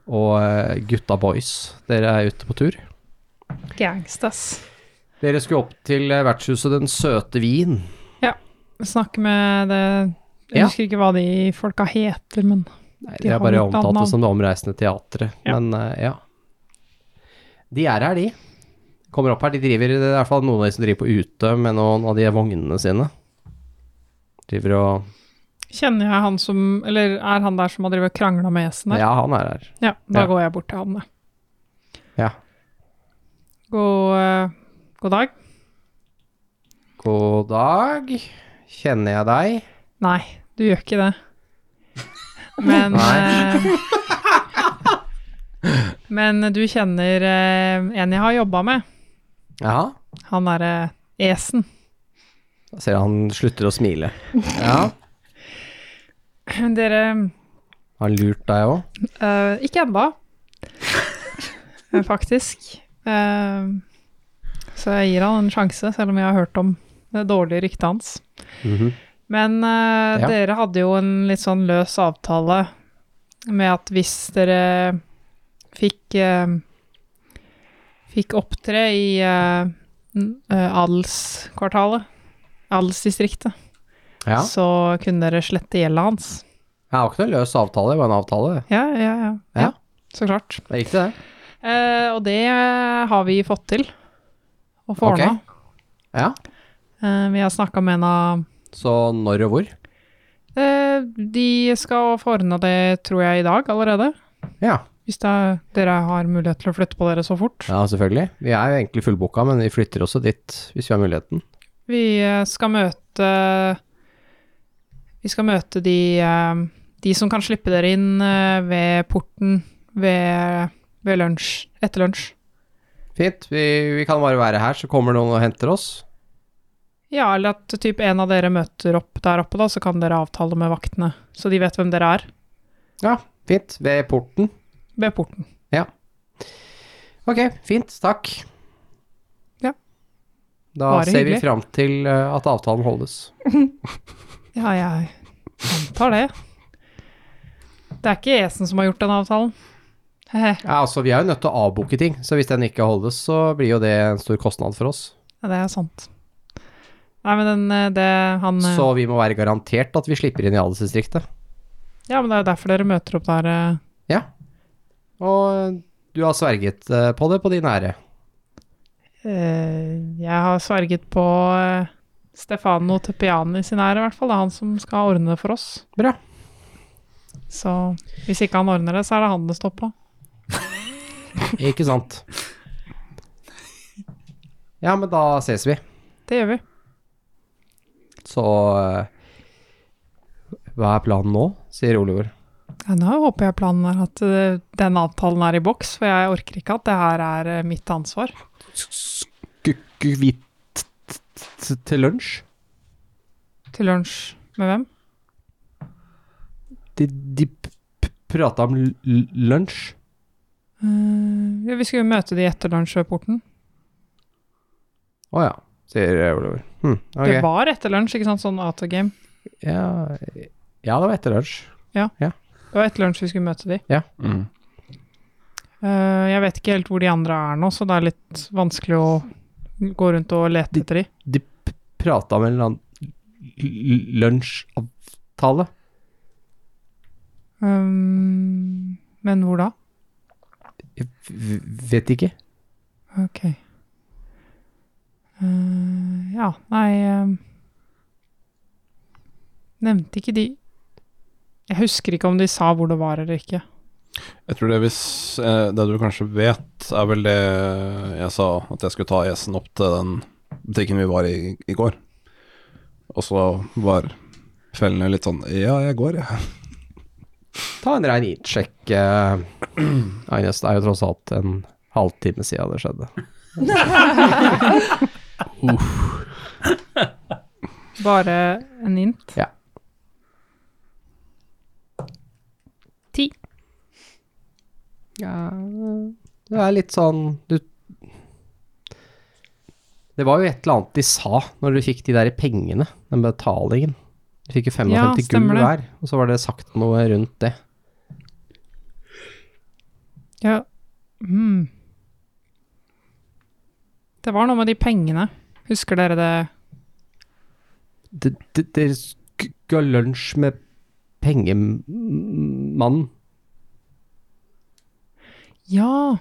Speaker 4: og eh, gutta boys, dere er ute på tur.
Speaker 9: Gangstas.
Speaker 4: Dere skulle opp til eh, vertshuset Den søte vin.
Speaker 9: Snakke med det Jeg
Speaker 4: Ja.
Speaker 9: husker ikke hva de folka heter, men
Speaker 4: Nei,
Speaker 9: De
Speaker 4: de
Speaker 9: har
Speaker 4: er bare
Speaker 9: litt annet
Speaker 4: omtalt det
Speaker 9: navn.
Speaker 4: som det omreisende teatret,
Speaker 9: Ja.
Speaker 4: men eh, ja. De er her, de. Kommer opp her. De driver, det er i hvert fall noen av de som driver på ute med noen av de vognene sine. Driver og
Speaker 9: kjenner jeg han som Eller er han der som har drevet og krangla med esen der?
Speaker 4: Ja, han er her.
Speaker 9: Ja, da
Speaker 4: Ja.
Speaker 9: går jeg bort til han, da.
Speaker 4: Ja.
Speaker 9: God, eh, god dag.
Speaker 4: God dag. Kjenner jeg deg?
Speaker 9: Nei, du gjør ikke
Speaker 4: [LAUGHS]
Speaker 9: det. Men eh, Men du kjenner eh, en jeg har jobba med.
Speaker 4: Jaha.
Speaker 9: Han eh, derre Esen.
Speaker 4: Da ser jeg han slutter å
Speaker 9: [LAUGHS]
Speaker 4: smile. Ja.
Speaker 9: Dere
Speaker 4: Har han lurt deg òg?
Speaker 9: eh,
Speaker 4: [LAUGHS]
Speaker 9: Ikke ennå, Eh, faktisk. Eh, så jeg gir han en sjanse, selv om jeg har hørt om det dårlige ryktet hans. Men eh,
Speaker 4: Mhm. Ja.
Speaker 9: dere hadde jo en litt sånn løs avtale med at hvis dere fikk eh, fikk opptre i eh, n- eh, adelskvartalet, adelsdistriktet,
Speaker 4: Ja.
Speaker 9: så kunne dere slette gjelda hans.
Speaker 4: Jeg har ikke noen løs avtale, bare en avtale.
Speaker 9: Ja, ja, ja.
Speaker 4: Ja.
Speaker 9: så klart.
Speaker 4: Det gikk det, det.
Speaker 9: Eh, og det har vi fått til å få
Speaker 4: Ok.
Speaker 9: ordna.
Speaker 4: Ja.
Speaker 9: Eh, vi har snakka med en av
Speaker 4: Så når og hvor?
Speaker 9: Eh, De skal få ordna det, tror jeg, i dag allerede.
Speaker 4: Ja.
Speaker 9: Hvis det er, dere har mulighet til å flytte på dere så fort.
Speaker 4: ja, selvfølgelig. Vi er jo egentlig fullbooka, men vi flytter også dit hvis vi har muligheten.
Speaker 9: Vi eh, skal møte Vi skal møte de, eh, de som kan slippe dere inn eh, ved porten ved, ved lunsj. Etter lunsj.
Speaker 4: Fint, vi, vi kan bare være her, så kommer noen og henter oss.
Speaker 9: Ja, eller at typ en av dere møter opp der oppe, da, så kan dere avtale med vaktene. Så de vet hvem dere er.
Speaker 4: Fint, ved porten.
Speaker 9: Ved porten.
Speaker 4: Ok, fint, takk.
Speaker 9: Ja.
Speaker 4: Da
Speaker 9: Bare
Speaker 4: ser
Speaker 9: hyggelig.
Speaker 4: vi fram til eh, at avtalen holdes.
Speaker 9: Ja, jeg antar det. Det er ikke Esen som har gjort den avtalen. [LAUGHS] Hehe.
Speaker 4: Ja, altså, vi er jo nødt til å avbooke ting, så hvis den ikke holdes, så blir jo det en stor kostnad for oss.
Speaker 9: Ja, det er sant. Nei, men den, eh, det, han eh,
Speaker 4: Så vi må være garantert at vi slipper inn i adelsdistriktet.
Speaker 9: Ja, men det er jo derfor dere møter opp der. eh.
Speaker 4: Og eh, du har sverget eh, på det på din ære.
Speaker 9: Eh, Jeg har sverget på eh, Stefano Tepiani sin ære, i hvert fall. Det er han som skal ordne det for oss.
Speaker 4: Bra.
Speaker 9: Så hvis ikke han ordner det, så er det han det står på.
Speaker 4: Ikke sant? Ja, men da ses vi.
Speaker 9: Det gjør vi.
Speaker 4: Så eh, Hva er planen nå? sier Oliver.
Speaker 9: Ja, nå håper jeg planen er at eh, den avtalen er i boks, for jeg orker ikke at det her er eh, mitt ansvar.
Speaker 4: Skulle vi t- t- t- til lunsj?
Speaker 9: Til lunsj med hvem?
Speaker 4: De, de p- p- prata om l- l- lunsj.
Speaker 9: Eh, ja, vi skulle jo møte de etter lunsj ved porten.
Speaker 4: Å ja, sier eh, Oliver. Hm, ok.
Speaker 9: Det var etter lunsj, ikke sant? Sånn out of game.
Speaker 4: Ja, ja, det var etter lunsj.
Speaker 9: Det var etter lunsj vi skulle møte de.
Speaker 7: Mm.
Speaker 9: Eh, jeg vet ikke helt hvor de andre er nå, så det er litt vanskelig å gå rundt og lete etter de.
Speaker 4: De p- prata om en eller annen l- l- lunsjavtale.
Speaker 9: Um, Eh, men hvor da?
Speaker 4: Jeg v- vet ikke.
Speaker 9: Ok. Eh, ja, nei eh, Nevnte ikke de Jeg husker ikke om de sa hvor det var eller ikke.
Speaker 8: Jeg tror det hvis eh, Det du kanskje vet, er vel det jeg sa, at jeg skulle ta Esen opp til den butikken vi var i i går. Og så var fellene litt sånn Ja, jeg går, jeg. Ja.
Speaker 4: Ta en rein innsjekk. eh, [CLEARS THROAT] Agnes, det er jo tross alt en halvtime siden det skjedde.
Speaker 9: Bare en int.
Speaker 10: Ja.
Speaker 4: Du er litt sånn Du Det var jo et eller annet de sa når du fikk de der pengene, den betalingen. Du fikk jo 55
Speaker 9: Ja, stemmer
Speaker 4: gull
Speaker 9: det.
Speaker 4: hver, og så var det sagt noe rundt det.
Speaker 9: Ja. Mm. Det var noe med de pengene. Husker dere det?
Speaker 4: D- d- Dere skulle ha lunsj med pengemannen.
Speaker 9: Ja.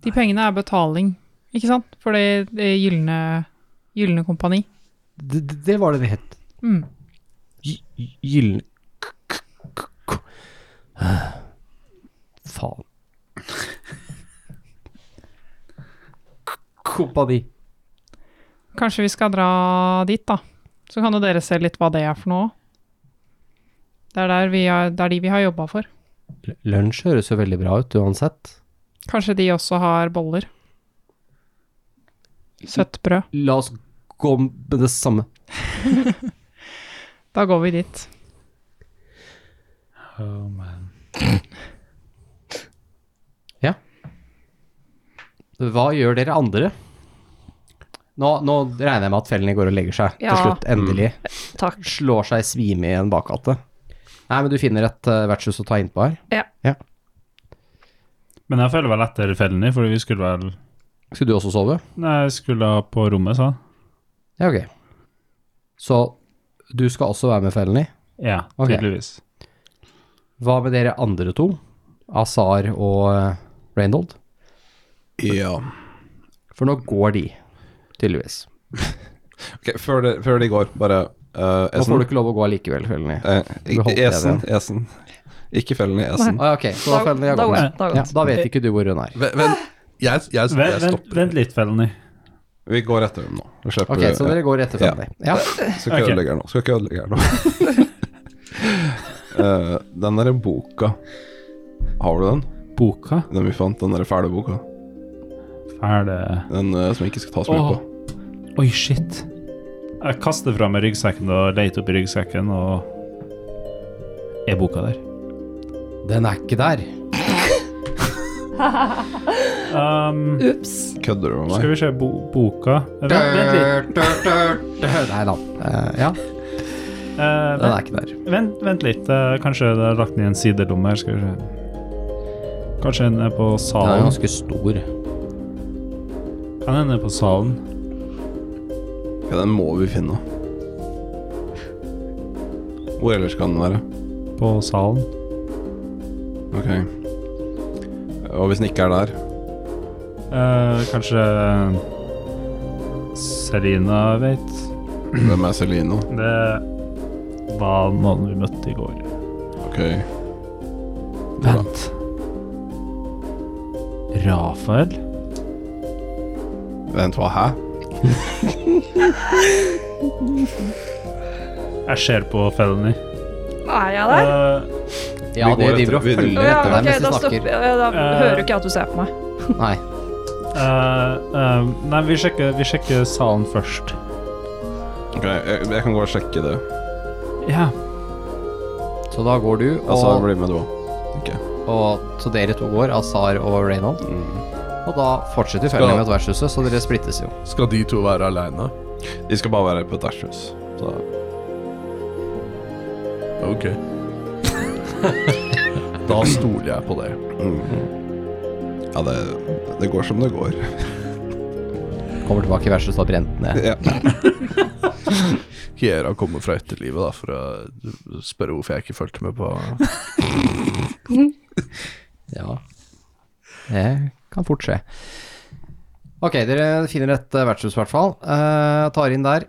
Speaker 9: De pengene er betaling, ikke sant? For det, det gylne, gylne kompani.
Speaker 4: D- d- Det var det det het.
Speaker 9: Mm.
Speaker 4: Gy- gy- Gyllen k- k- k- k- Faen. K- Kompani.
Speaker 9: Kanskje vi skal dra dit, da. Så kan jo dere se litt hva det er for noe. Det er, der vi har, det er de vi har jobba for.
Speaker 4: L- Lunsj høres jo veldig bra ut uansett.
Speaker 9: Kanskje de også har boller. Søtt brød.
Speaker 4: La oss gå med det samme.
Speaker 9: Da går vi dit.
Speaker 5: Oh, man.
Speaker 4: Hva gjør dere andre? Nå, nå regner jeg med at fellen går og legger seg
Speaker 3: Ja. Mm.
Speaker 4: til slutt, endelig.
Speaker 3: Takk.
Speaker 4: Slår seg i svime i en bakgate. Nei, men du finner et eh, vertshus å ta innpå her.
Speaker 5: Men jeg føler vel etter fellene, fordi vi skulle vel
Speaker 4: Skulle du også sove?
Speaker 5: Nei, jeg skulle ha på rommet, sa jeg.
Speaker 4: Ja, ok. Så du skal også være med fellen i.
Speaker 5: Ja,
Speaker 4: Ok.
Speaker 5: tydeligvis.
Speaker 4: Hva med dere andre to? Azar og eh, Reynold?
Speaker 11: Ja.
Speaker 4: For nå går de, tydeligvis.
Speaker 6: Ok, før, det, før de går, bare eh,
Speaker 4: Nå
Speaker 6: Esen.
Speaker 4: får du ikke lov å gå allikevel, fellen i.
Speaker 6: Eh,
Speaker 4: Du holdt det
Speaker 6: esen, esen. Ikke fellen i esen.
Speaker 4: Ah, ok, så da
Speaker 3: Da,
Speaker 4: fellen i har
Speaker 3: da,
Speaker 4: gått.
Speaker 3: går- da,
Speaker 4: Ja,
Speaker 3: går-
Speaker 4: da vet ikke du hvor hun er.
Speaker 11: Vent, vent. Jeg, jeg, jeg,
Speaker 5: Vent, vent,
Speaker 11: stopper.
Speaker 5: vent litt, Felny.
Speaker 6: Vi går etter dem nå. Vi slipper
Speaker 4: Ok, så dere går etter
Speaker 6: Ja.
Speaker 4: fellen i. Ja.
Speaker 6: Skal ikke
Speaker 5: Ok.
Speaker 6: ødelegge her nå. Skal ikke ødelegge her nå.
Speaker 4: [LAUGHS]
Speaker 6: Eh, den derre boka Har du den?
Speaker 5: Boka?
Speaker 6: Den vi fant, den derre fæle boka?
Speaker 5: Fæle
Speaker 6: Den eh, som ikke skal tas med
Speaker 5: Åh.
Speaker 6: på?
Speaker 5: Oi, shit. Jeg kaster fra meg ryggsekken og leter opp i ryggsekken, og Er boka der?
Speaker 4: Den er ikke der.
Speaker 5: Um,
Speaker 3: Ups.
Speaker 6: Kødder du med
Speaker 5: skal
Speaker 6: meg?
Speaker 5: vi se bo boka Vent, vent litt.
Speaker 4: Nei da. Eh, ja,
Speaker 5: Eh,
Speaker 4: den er ikke der.
Speaker 5: Vent, vent litt. eh, Kanskje det er lagt ned i en sidelomme her. Skal vi se. Kanskje den er på
Speaker 4: Den er
Speaker 5: salen.
Speaker 4: ganske stor.
Speaker 5: Kan hende på salen.
Speaker 6: Ja, den må vi finne. Hvor ellers kan den være?
Speaker 5: På salen.
Speaker 6: Ok. Og hvis den ikke er der
Speaker 5: Eh, kanskje Selina vet.
Speaker 6: Hvem er Celine?
Speaker 5: Det var noen vi møtte i går.
Speaker 6: Ok.
Speaker 5: Vent. Rafael?
Speaker 6: Vent, hva? Hæ?
Speaker 5: Jeg ser på Felony.
Speaker 3: Er jeg der?
Speaker 5: Eh,
Speaker 4: Ja, det
Speaker 6: Vi går
Speaker 4: driver og
Speaker 6: etter- vi-
Speaker 4: følger
Speaker 3: Å ja,
Speaker 4: etter deg mens
Speaker 3: ok, da,
Speaker 4: de
Speaker 3: stopper,
Speaker 4: snakker.
Speaker 3: ja, da
Speaker 5: Eh.
Speaker 3: hører ikke jeg at du ser på meg.
Speaker 4: Nei.
Speaker 5: eh, eh, nei, vi sjekker, vi sjekker salen først.
Speaker 6: Ok, jeg, jeg kan gå og sjekke det.
Speaker 5: Ja.
Speaker 4: Så da går du,
Speaker 6: Altså,
Speaker 4: og,
Speaker 6: bli med du òg.
Speaker 4: og så dere to går, Azar og Reynold. Og da fortsetter
Speaker 11: Skal-
Speaker 4: følgen med vertshuset, så dere splittes jo.
Speaker 11: Skal de to være aleine?
Speaker 6: De skal bare være på et vertshus. Så
Speaker 11: Ok. [LAUGHS] da stoler jeg på det.
Speaker 6: Mm. ja, det, det går som det går.
Speaker 4: Kommer tilbake i vertshuset og har brent ned.
Speaker 6: Ja.
Speaker 11: Kiera kommer fra etterlivet da, for å spørre hvorfor jeg ikke fulgte med på
Speaker 4: Ja. Det kan fort skje. Ok, dere finner et eh, vertshus i hvert fall. Eh, tar inn der.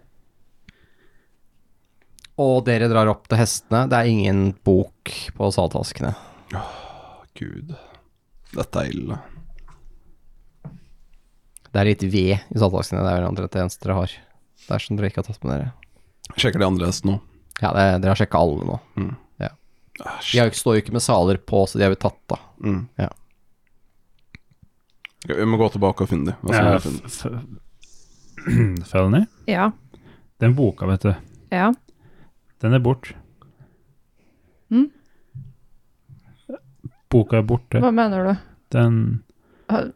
Speaker 4: Og dere drar opp til hestene. Det er ingen bok på saltaskene.
Speaker 6: Gud. Dette er ille.
Speaker 4: Det er litt ved i saltaskene. Det er vel omtrent det eneste dere har. Det er som dere ikke har tatt med dere.
Speaker 6: Sjekker de andre hestene nå.
Speaker 4: Ja, det, dere har sjekka alle nå. Ja.
Speaker 11: Ah,
Speaker 4: De har jo ikke, står jo ikke med saler på, så de har jo tatt, da. Ja.
Speaker 6: Mm. Ok, Vi må gå tilbake og finne de. Hva skal
Speaker 5: ja
Speaker 6: vi finne?
Speaker 5: Eh, [CLEARS THROAT] Felony?
Speaker 3: Ja.
Speaker 5: Den boka, vet du.
Speaker 3: ja.
Speaker 5: Den er bort.
Speaker 3: Mm.
Speaker 5: boka er borte.
Speaker 3: Hva mener du?
Speaker 5: Den
Speaker 3: Har-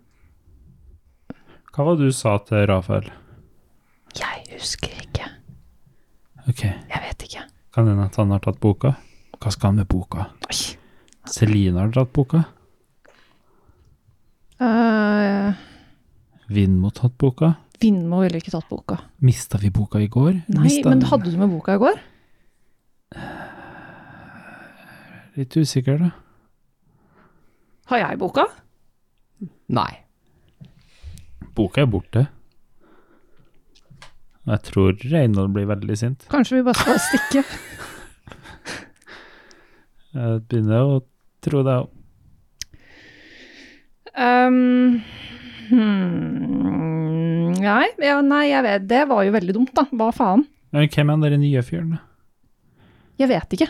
Speaker 5: Hva var det du sa til Rafael?
Speaker 3: Jeg husker ikke.
Speaker 5: Ok,
Speaker 3: Jeg vet ikke.
Speaker 5: kan hende at han har tatt boka? Hva skal han med boka?
Speaker 3: Oi.
Speaker 5: Celine har tatt boka.
Speaker 3: Eh,
Speaker 5: Vindmo har tatt boka.
Speaker 3: Vindmo ville ikke tatt boka.
Speaker 5: Mista vi boka i går?
Speaker 3: Nei,
Speaker 5: Mista-
Speaker 3: men hadde du med boka i går?
Speaker 5: Litt usikker, da.
Speaker 3: Har jeg boka?
Speaker 4: Nei.
Speaker 5: Boka er borte. Og Jeg tror Reynold blir veldig sint.
Speaker 3: Kanskje vi bare skal stikke?
Speaker 5: Jeg begynner å tro det òg.
Speaker 3: Ehm, hmm, nei, ja, nei, jeg vet Det var jo veldig dumt, da. Hva faen?
Speaker 5: Men hvem er den der nye fyren? da?
Speaker 3: Jeg vet ikke.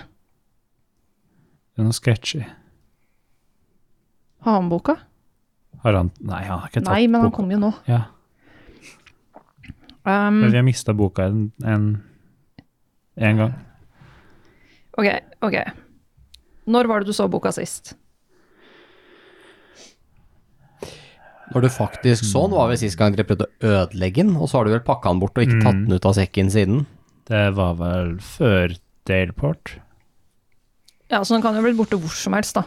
Speaker 5: Det er noe sketchy.
Speaker 3: Har han boka?
Speaker 5: Har han Nei, han har ikke tatt
Speaker 3: Nei, men han
Speaker 5: boka.
Speaker 3: kom Mm. jo nå.
Speaker 5: Ja.
Speaker 3: Ehm,
Speaker 5: Vi har mista boka en, en, en gang.
Speaker 3: ok, ok. Når var det du så boka sist?
Speaker 4: Når du faktisk så den, var vel sist gang dere prøvde å ødelegge den, og så har du vel pakka den bort og ikke tatt den ut av sekken siden.
Speaker 5: Det var vel før Daleport,
Speaker 3: Ja, så den kan jo bli borte hvor som helst, da.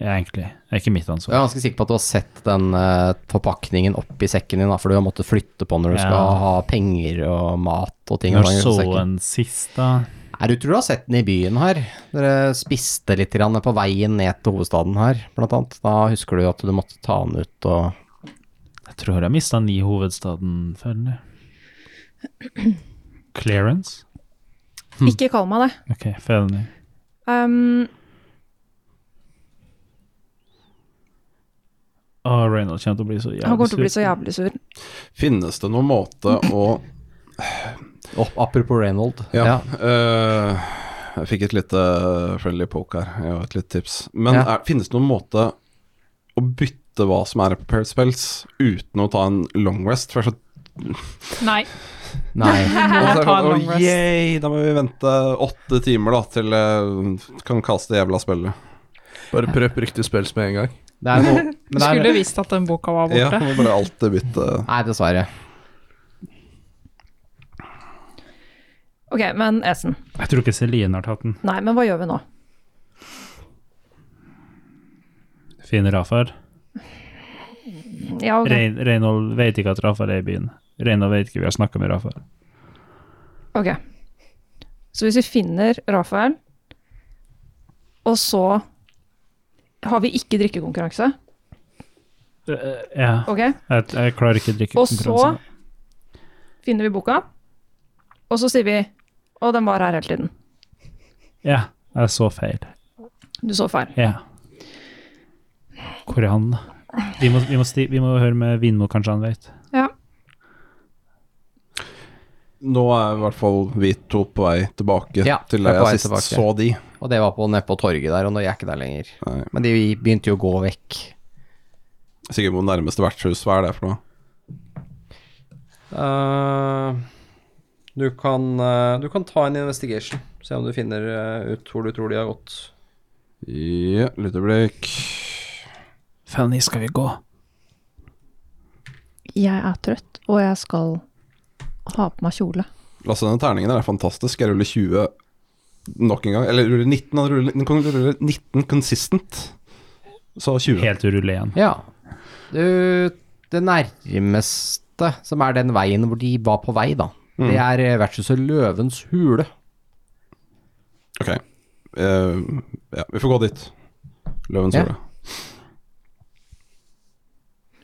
Speaker 5: ja, egentlig. Det er ikke mitt
Speaker 4: Jeg
Speaker 5: ansvar.
Speaker 4: er ganske sikker på at du har sett den eh, forpakningen oppi sekken din, da, for du har måttet flytte på når du
Speaker 5: Ja.
Speaker 4: skal ha penger og mat og ting. og
Speaker 5: Når
Speaker 4: tang i
Speaker 5: så
Speaker 4: sekken.
Speaker 5: en sist, da?
Speaker 4: Nei, du tror du har sett den i byen her. Dere spiste litt grann på veien ned til hovedstaden her, blant annet. Da husker du at du måtte ta den ut og
Speaker 5: Jeg tror jeg mista den i hovedstaden før.
Speaker 3: [CLEARS THROAT]
Speaker 5: eller? Clearance?
Speaker 3: Ikke kall meg det.
Speaker 5: Ok, før den.
Speaker 3: Ehm,
Speaker 5: Å, Reynold kommer til å bli så jævlig
Speaker 3: han kommer til å bli
Speaker 5: sur.
Speaker 3: så jævlig sur.
Speaker 6: Finnes det noen måte å
Speaker 4: Opp, Apropos Reynold.
Speaker 6: Ja. eh, jeg fikk et lite eh, friendly poke her. Jeg har et lite tips. Men
Speaker 4: Ja.
Speaker 6: er, finnes det noen måte å bytte hva som er prepared spells, uten å ta en long rest? For jeg er så
Speaker 9: Nei.
Speaker 4: Nei.
Speaker 6: Og så er det
Speaker 9: ta en
Speaker 6: sånn,
Speaker 9: long
Speaker 6: «Å,
Speaker 9: rest».
Speaker 6: yay, da må vi vente åtte timer da til jeg kan kaste det jævla spillet.
Speaker 12: Bare prøp riktig spels med en gang.
Speaker 4: Det er
Speaker 6: [LAUGHS]
Speaker 4: noe men
Speaker 9: Du
Speaker 4: det er-
Speaker 9: skulle visst at den boka var
Speaker 6: Ja,
Speaker 9: borte.
Speaker 6: må bare alltid bytte
Speaker 4: Nei, dessverre.
Speaker 3: Ok, men Esen.
Speaker 5: Jeg tror ikke Celine har tatt den.
Speaker 3: Nei, men hva gjør vi nå?
Speaker 5: Fin Rafael.
Speaker 3: Ja, ok.
Speaker 5: Rein- Reynold vet ikke at Rafael er i byen. Reynold vet ikke vi har snakka med Rafael.
Speaker 3: Ok. Så hvis vi finner Rafael, og så har vi ikke drikkekonkurranse,
Speaker 5: Eh, Ja,
Speaker 3: ok?
Speaker 5: jeg, jeg klarer ikke å drikke
Speaker 3: Og så finner vi boka, og så sier vi Å, den var her hele tiden.
Speaker 5: Ja, jeg så feil.
Speaker 3: Du så feil.
Speaker 5: Ja. Hvor er han, da? Vi må, vi må, sti, vi må høre med Vinmo, kanskje han vet.
Speaker 3: Ja.
Speaker 6: Nå er i hvert fall vi to på vei tilbake
Speaker 4: Ja,
Speaker 6: til
Speaker 4: vi er
Speaker 6: da
Speaker 4: på vei
Speaker 6: jeg sist
Speaker 4: tilbake.
Speaker 6: så de.
Speaker 4: Og det var på nede på torget der, og nå er jeg ikke der lenger.
Speaker 6: Nei.
Speaker 4: Men de begynte jo å gå vekk.
Speaker 6: Sikkert mot nærmeste vertshus. Hva er det for noe?
Speaker 4: Eh, du, kan, eh, du kan ta en investigation. Se om du finner eh, ut hvor du tror de har gått.
Speaker 6: Ja, lite blikk.
Speaker 5: Fanny, skal vi gå?
Speaker 3: Jeg er trøtt, og jeg skal ha på meg kjole.
Speaker 6: Lasse, denne Altså, terningen her er fantastisk. Jeg ruller 20 nok en gang. Eller ruller 19, han ruller, den kan rulle 19 consistent. Så 20.
Speaker 5: Helt urulle igjen.
Speaker 4: Ja. Du, det nærmeste som er den veien hvor de var på vei, da, det er eh, vertshuset Løvens hule.
Speaker 6: Ok. Eh, ja, vi får gå dit. Løvens
Speaker 4: Ja.
Speaker 6: hule.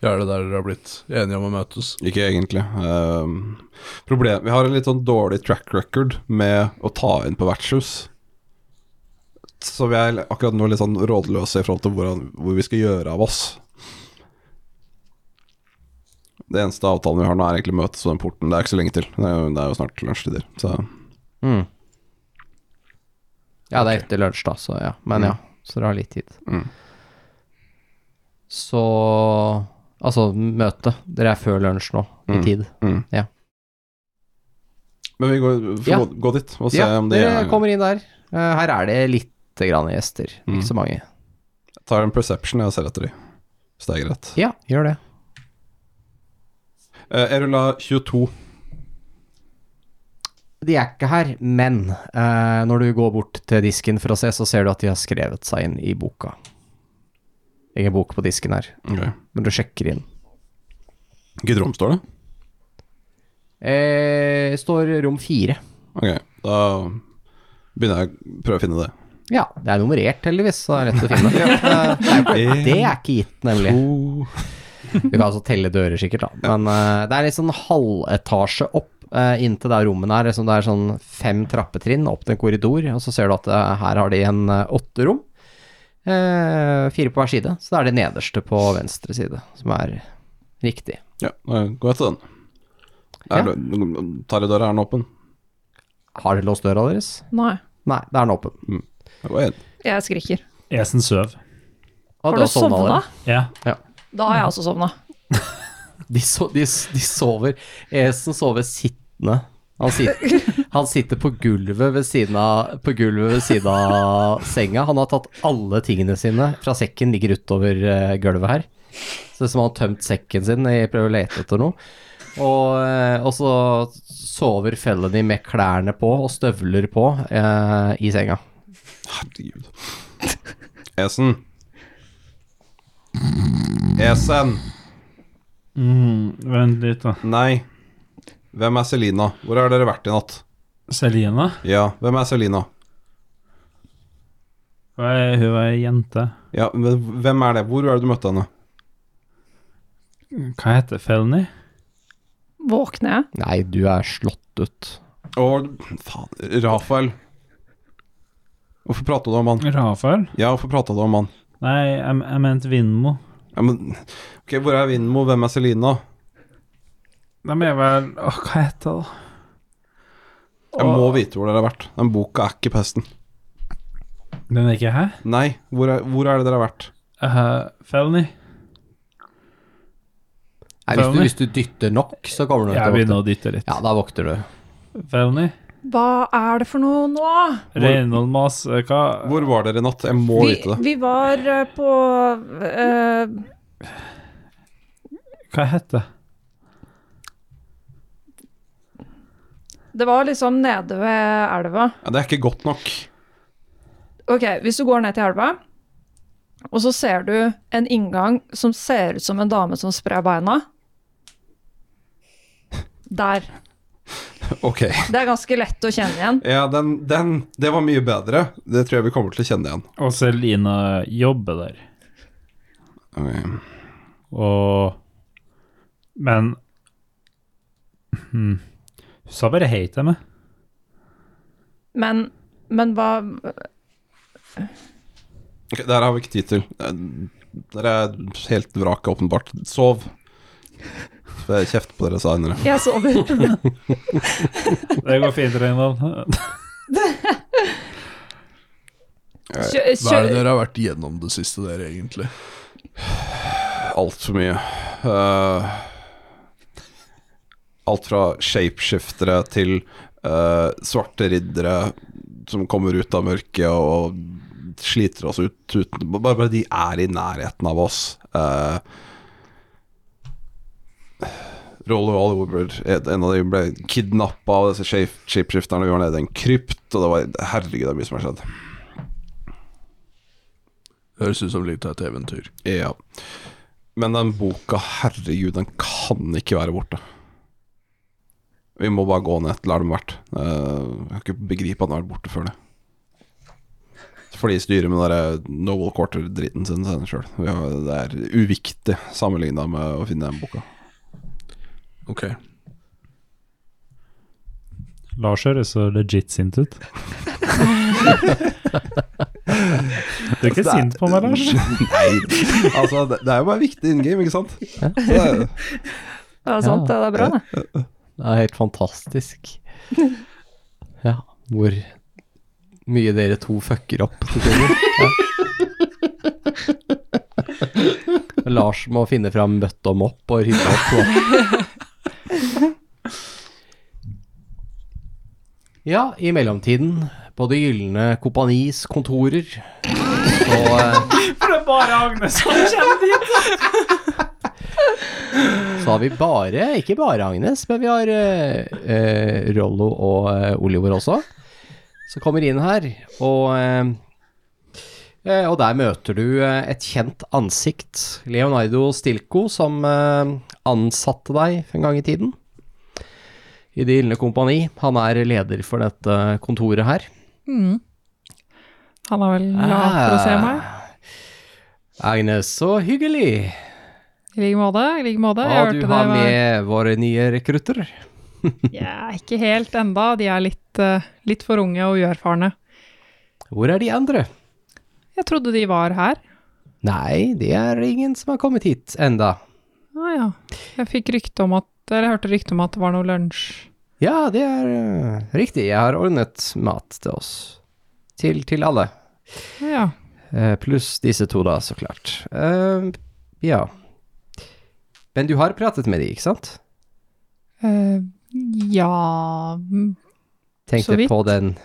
Speaker 12: Ja, er det der dere har blitt enige om å møtes?
Speaker 6: Ikke egentlig. Eh, problem Vi har en litt sånn dårlig track record med å ta inn på vertshus. Så vi er akkurat nå litt sånn rådløse i forhold til hvordan, hvor vi skal gjøre av oss. Det eneste avtalen vi har nå, er egentlig møtes på den porten. Det er ikke så lenge til. Det er jo, det er jo snart lunsjtider. Så
Speaker 4: Mm. Ja, det er etter lunsj, da, så ja. Men ja, så dere har litt tid.
Speaker 6: mm.
Speaker 4: Så Altså, møte. Dere er før lunsj nå, i
Speaker 6: Mm.
Speaker 4: tid.
Speaker 6: Men vi går, får
Speaker 4: Ja.
Speaker 6: gå, gå dit og se
Speaker 4: ja,
Speaker 6: om de
Speaker 4: dere
Speaker 6: er
Speaker 4: kommer inn der. Eh, Her er det lite grann gjester,
Speaker 6: Mm.
Speaker 4: ikke så mange.
Speaker 6: tar en perception jeg og ser etter de. Hvis det er greit.
Speaker 4: Ja, gjør det.
Speaker 6: Eh, Jeg rulla 22.
Speaker 4: De er ikke her, men eh, når du går bort til disken for å se, så ser du at de har skrevet seg inn i boka. Ingen bok på disken her,
Speaker 6: Okay.
Speaker 4: men du sjekker inn.
Speaker 6: Hvilket rom står det?
Speaker 4: Eh, står rom fire.
Speaker 6: Ok, da begynner jeg å prøve å finne det.
Speaker 4: Ja, det er nummerert heldigvis, så det er lett å
Speaker 3: [LAUGHS]
Speaker 4: finne. Eh, det, er Oh. jo ikke, det er ikke gitt, nemlig. Du kan altså telle dører sikkert, da. Men eh, det er litt sånn halvetasje opp eh, inntil der rommene er. Liksom det er sånn fem trappetrinn opp til en korridor, og så ser du at eh, her har de en eh, åtte rom. Eh, fire på hver side, så det er det nederste på venstre side som er riktig.
Speaker 6: Ja, da går jeg til den. Er
Speaker 4: Ja.
Speaker 6: det- Tar jeg døra, er den åpen?
Speaker 4: Har dere låst døra deres?
Speaker 3: Nei.
Speaker 4: Nei, da er den åpen.
Speaker 6: Jeg går inn.
Speaker 3: Jeg skriker.
Speaker 5: Esen søv.
Speaker 4: Og
Speaker 3: Har
Speaker 4: det
Speaker 3: du
Speaker 4: var sånn alle-
Speaker 3: sovna?
Speaker 5: Ja.
Speaker 3: Da har jeg også sovna.
Speaker 4: De, so, de, de sover Esen sover sittende. Han sitter, han sitter på gulvet ved siden av, på gulvet ved siden av senga. Han har tatt alle tingene sine fra sekken, ligger utover eh, gulvet her. Så det er som han har tømt sekken sin i prøver å lete etter noe. Og, eh, og så sover Felony med klærne på og støvler på eh, i senga.
Speaker 6: Herregud. Esen. Esen.
Speaker 5: Mm, Vent litt, da.
Speaker 6: Nei. Hvem er Selina? Hvor har dere vært i natt?
Speaker 5: Selina?
Speaker 6: Ja, hvem er Selina?
Speaker 5: Hun er hun er ei jente.
Speaker 6: Ja, men hvem er det? Hvor er det du møtte henne?
Speaker 5: Hva heter Felny?
Speaker 3: Våkner jeg?
Speaker 4: Nei, du er slått ut.
Speaker 6: Å, faen. Rafael. Hvorfor prata du om han?
Speaker 5: Rafael?
Speaker 6: Ja, hvorfor prata du om han?
Speaker 5: Nei, jeg, jeg mente Vindmo.
Speaker 6: Ja, men Ok, hvor er Vindmo? Hvem er Selina?
Speaker 5: De er vel Åh, hva heter det, da?
Speaker 6: Jeg må vite hvor dere har vært. Den boka er ikke pesten.
Speaker 5: Den er ikke her?
Speaker 6: Nei, hvor er, hvor er det dere har vært?
Speaker 5: Uh, Felny?
Speaker 4: Nei, hvis, du, hvis du dytter nok, så kommer du
Speaker 5: Jeg
Speaker 4: til å våkne.
Speaker 5: begynner å dytte litt.
Speaker 4: Ja, da våkner du.
Speaker 5: Felny?
Speaker 3: Hva er det for noe nå?
Speaker 5: Reinhold Mas... eh, Hva
Speaker 6: Hvor var dere i natt? Jeg må
Speaker 3: Vi,
Speaker 6: vite det.
Speaker 3: vi var eh, på eh,
Speaker 5: Hva heter det?
Speaker 3: Det var liksom nede ved elva.
Speaker 6: Ja, det er ikke godt nok.
Speaker 3: Ok, hvis du går ned til elva, og så ser du en inngang som ser ut som en dame som sprer beina. Der.
Speaker 6: Ok.
Speaker 3: Det er ganske lett å kjenne igjen.
Speaker 6: Ja, den, den Det var mye bedre. Det tror jeg vi kommer til å kjenne igjen.
Speaker 5: Og Selina jobber der.
Speaker 6: Ok.
Speaker 5: Og Men hmm. Hun sa bare hei til meg.
Speaker 3: Men, men hva
Speaker 6: Ok, Det her har vi ikke tid til. Eh, Dere er helt vraka, åpenbart. Sov. Får jeg kjeft på dere seinere.
Speaker 3: Jeg sover.
Speaker 13: [LAUGHS]
Speaker 5: Det går fint, Reinhold. [LAUGHS]
Speaker 13: Hva er det
Speaker 3: Kjø, Eh, kjø,
Speaker 13: dere har vært igjennom det siste, dere, egentlig?
Speaker 6: Altfor mye. Eh, alt fra shapeshiftere til eh, svarte riddere som kommer ut av mørket og sliter oss ut uten Bare, bare de er i nærheten av oss. Uh, Rollo Oliver, en av de ble kidnappa av disse shape- shapeshifterne. Vi var nede i en krypt, og det var Herregud, det er mye som har skjedd.
Speaker 13: Høres ut som litt av et eventyr.
Speaker 6: Ja. Men den boka, herregud, den kan ikke være borte. Vi må bare gå ned til der den har vært. Eh, Jeg kan ikke begripe at den har vært borte før det. For de styrer med den der Novel Quarter-driten sin sjøl. Det er uviktig sammenligna med å finne den boka.
Speaker 13: Ok.
Speaker 5: Lars høres så legit sint ut. [LAUGHS] Du Altså, er ikke sint på meg, Lars? [LAUGHS]
Speaker 6: Nei, altså, det, det er jo bare viktig in game, ikke sant? Så det er-
Speaker 3: det er sant, det er bra, det.
Speaker 4: Det er helt fantastisk. [LAUGHS] Ja, hvor mye dere to fucker opp til tider. Ja. [LAUGHS] Lars må finne fram bøtte og mopp og rydde opp. Og. Ja, i mellomtiden, på Det gylne kompanis kontorer, Og eh,
Speaker 5: For det er bare Agnes som
Speaker 3: [LAUGHS]
Speaker 5: kjenner dit!
Speaker 4: så har vi bare, ikke bare Agnes, men vi har eh, eh, Rollo og eh, Oliver også, som kommer inn her. Og, eh, eh, og der møter du eh, et kjent ansikt. Leonardo Stilco, som eh, ansatte deg en gang i tiden. I Det gylne kompani. Han er leder for dette kontoret her.
Speaker 9: Mm. Han er vel glad for
Speaker 4: Ah.
Speaker 9: å se meg.
Speaker 4: Agnes, så hyggelig.
Speaker 9: I like måte. i like måte. Jeg
Speaker 4: Og
Speaker 9: hørte
Speaker 4: du
Speaker 9: det
Speaker 4: har
Speaker 9: var-
Speaker 4: med våre nye rekrutter.
Speaker 9: Ja, ikke helt enda. De er litt, eh, litt for unge og uerfarne.
Speaker 4: Hvor er de andre?
Speaker 9: Jeg trodde de var her.
Speaker 4: Nei, det er ingen som har kommet hit enda.
Speaker 9: Å ja. Jeg fikk rykte om at Eller jeg hørte rykte om at det var noe lunsj.
Speaker 4: Ja, det er eh, riktig. Jeg har ordnet mat til oss. Til, til alle.
Speaker 9: Å Ja.
Speaker 4: Eh, Pluss disse to, da, så klart. Eh, ja. Men du har pratet med de, ikke sant?
Speaker 9: Eh, ja mm, Så
Speaker 4: Tenkte
Speaker 9: vidt.
Speaker 4: på den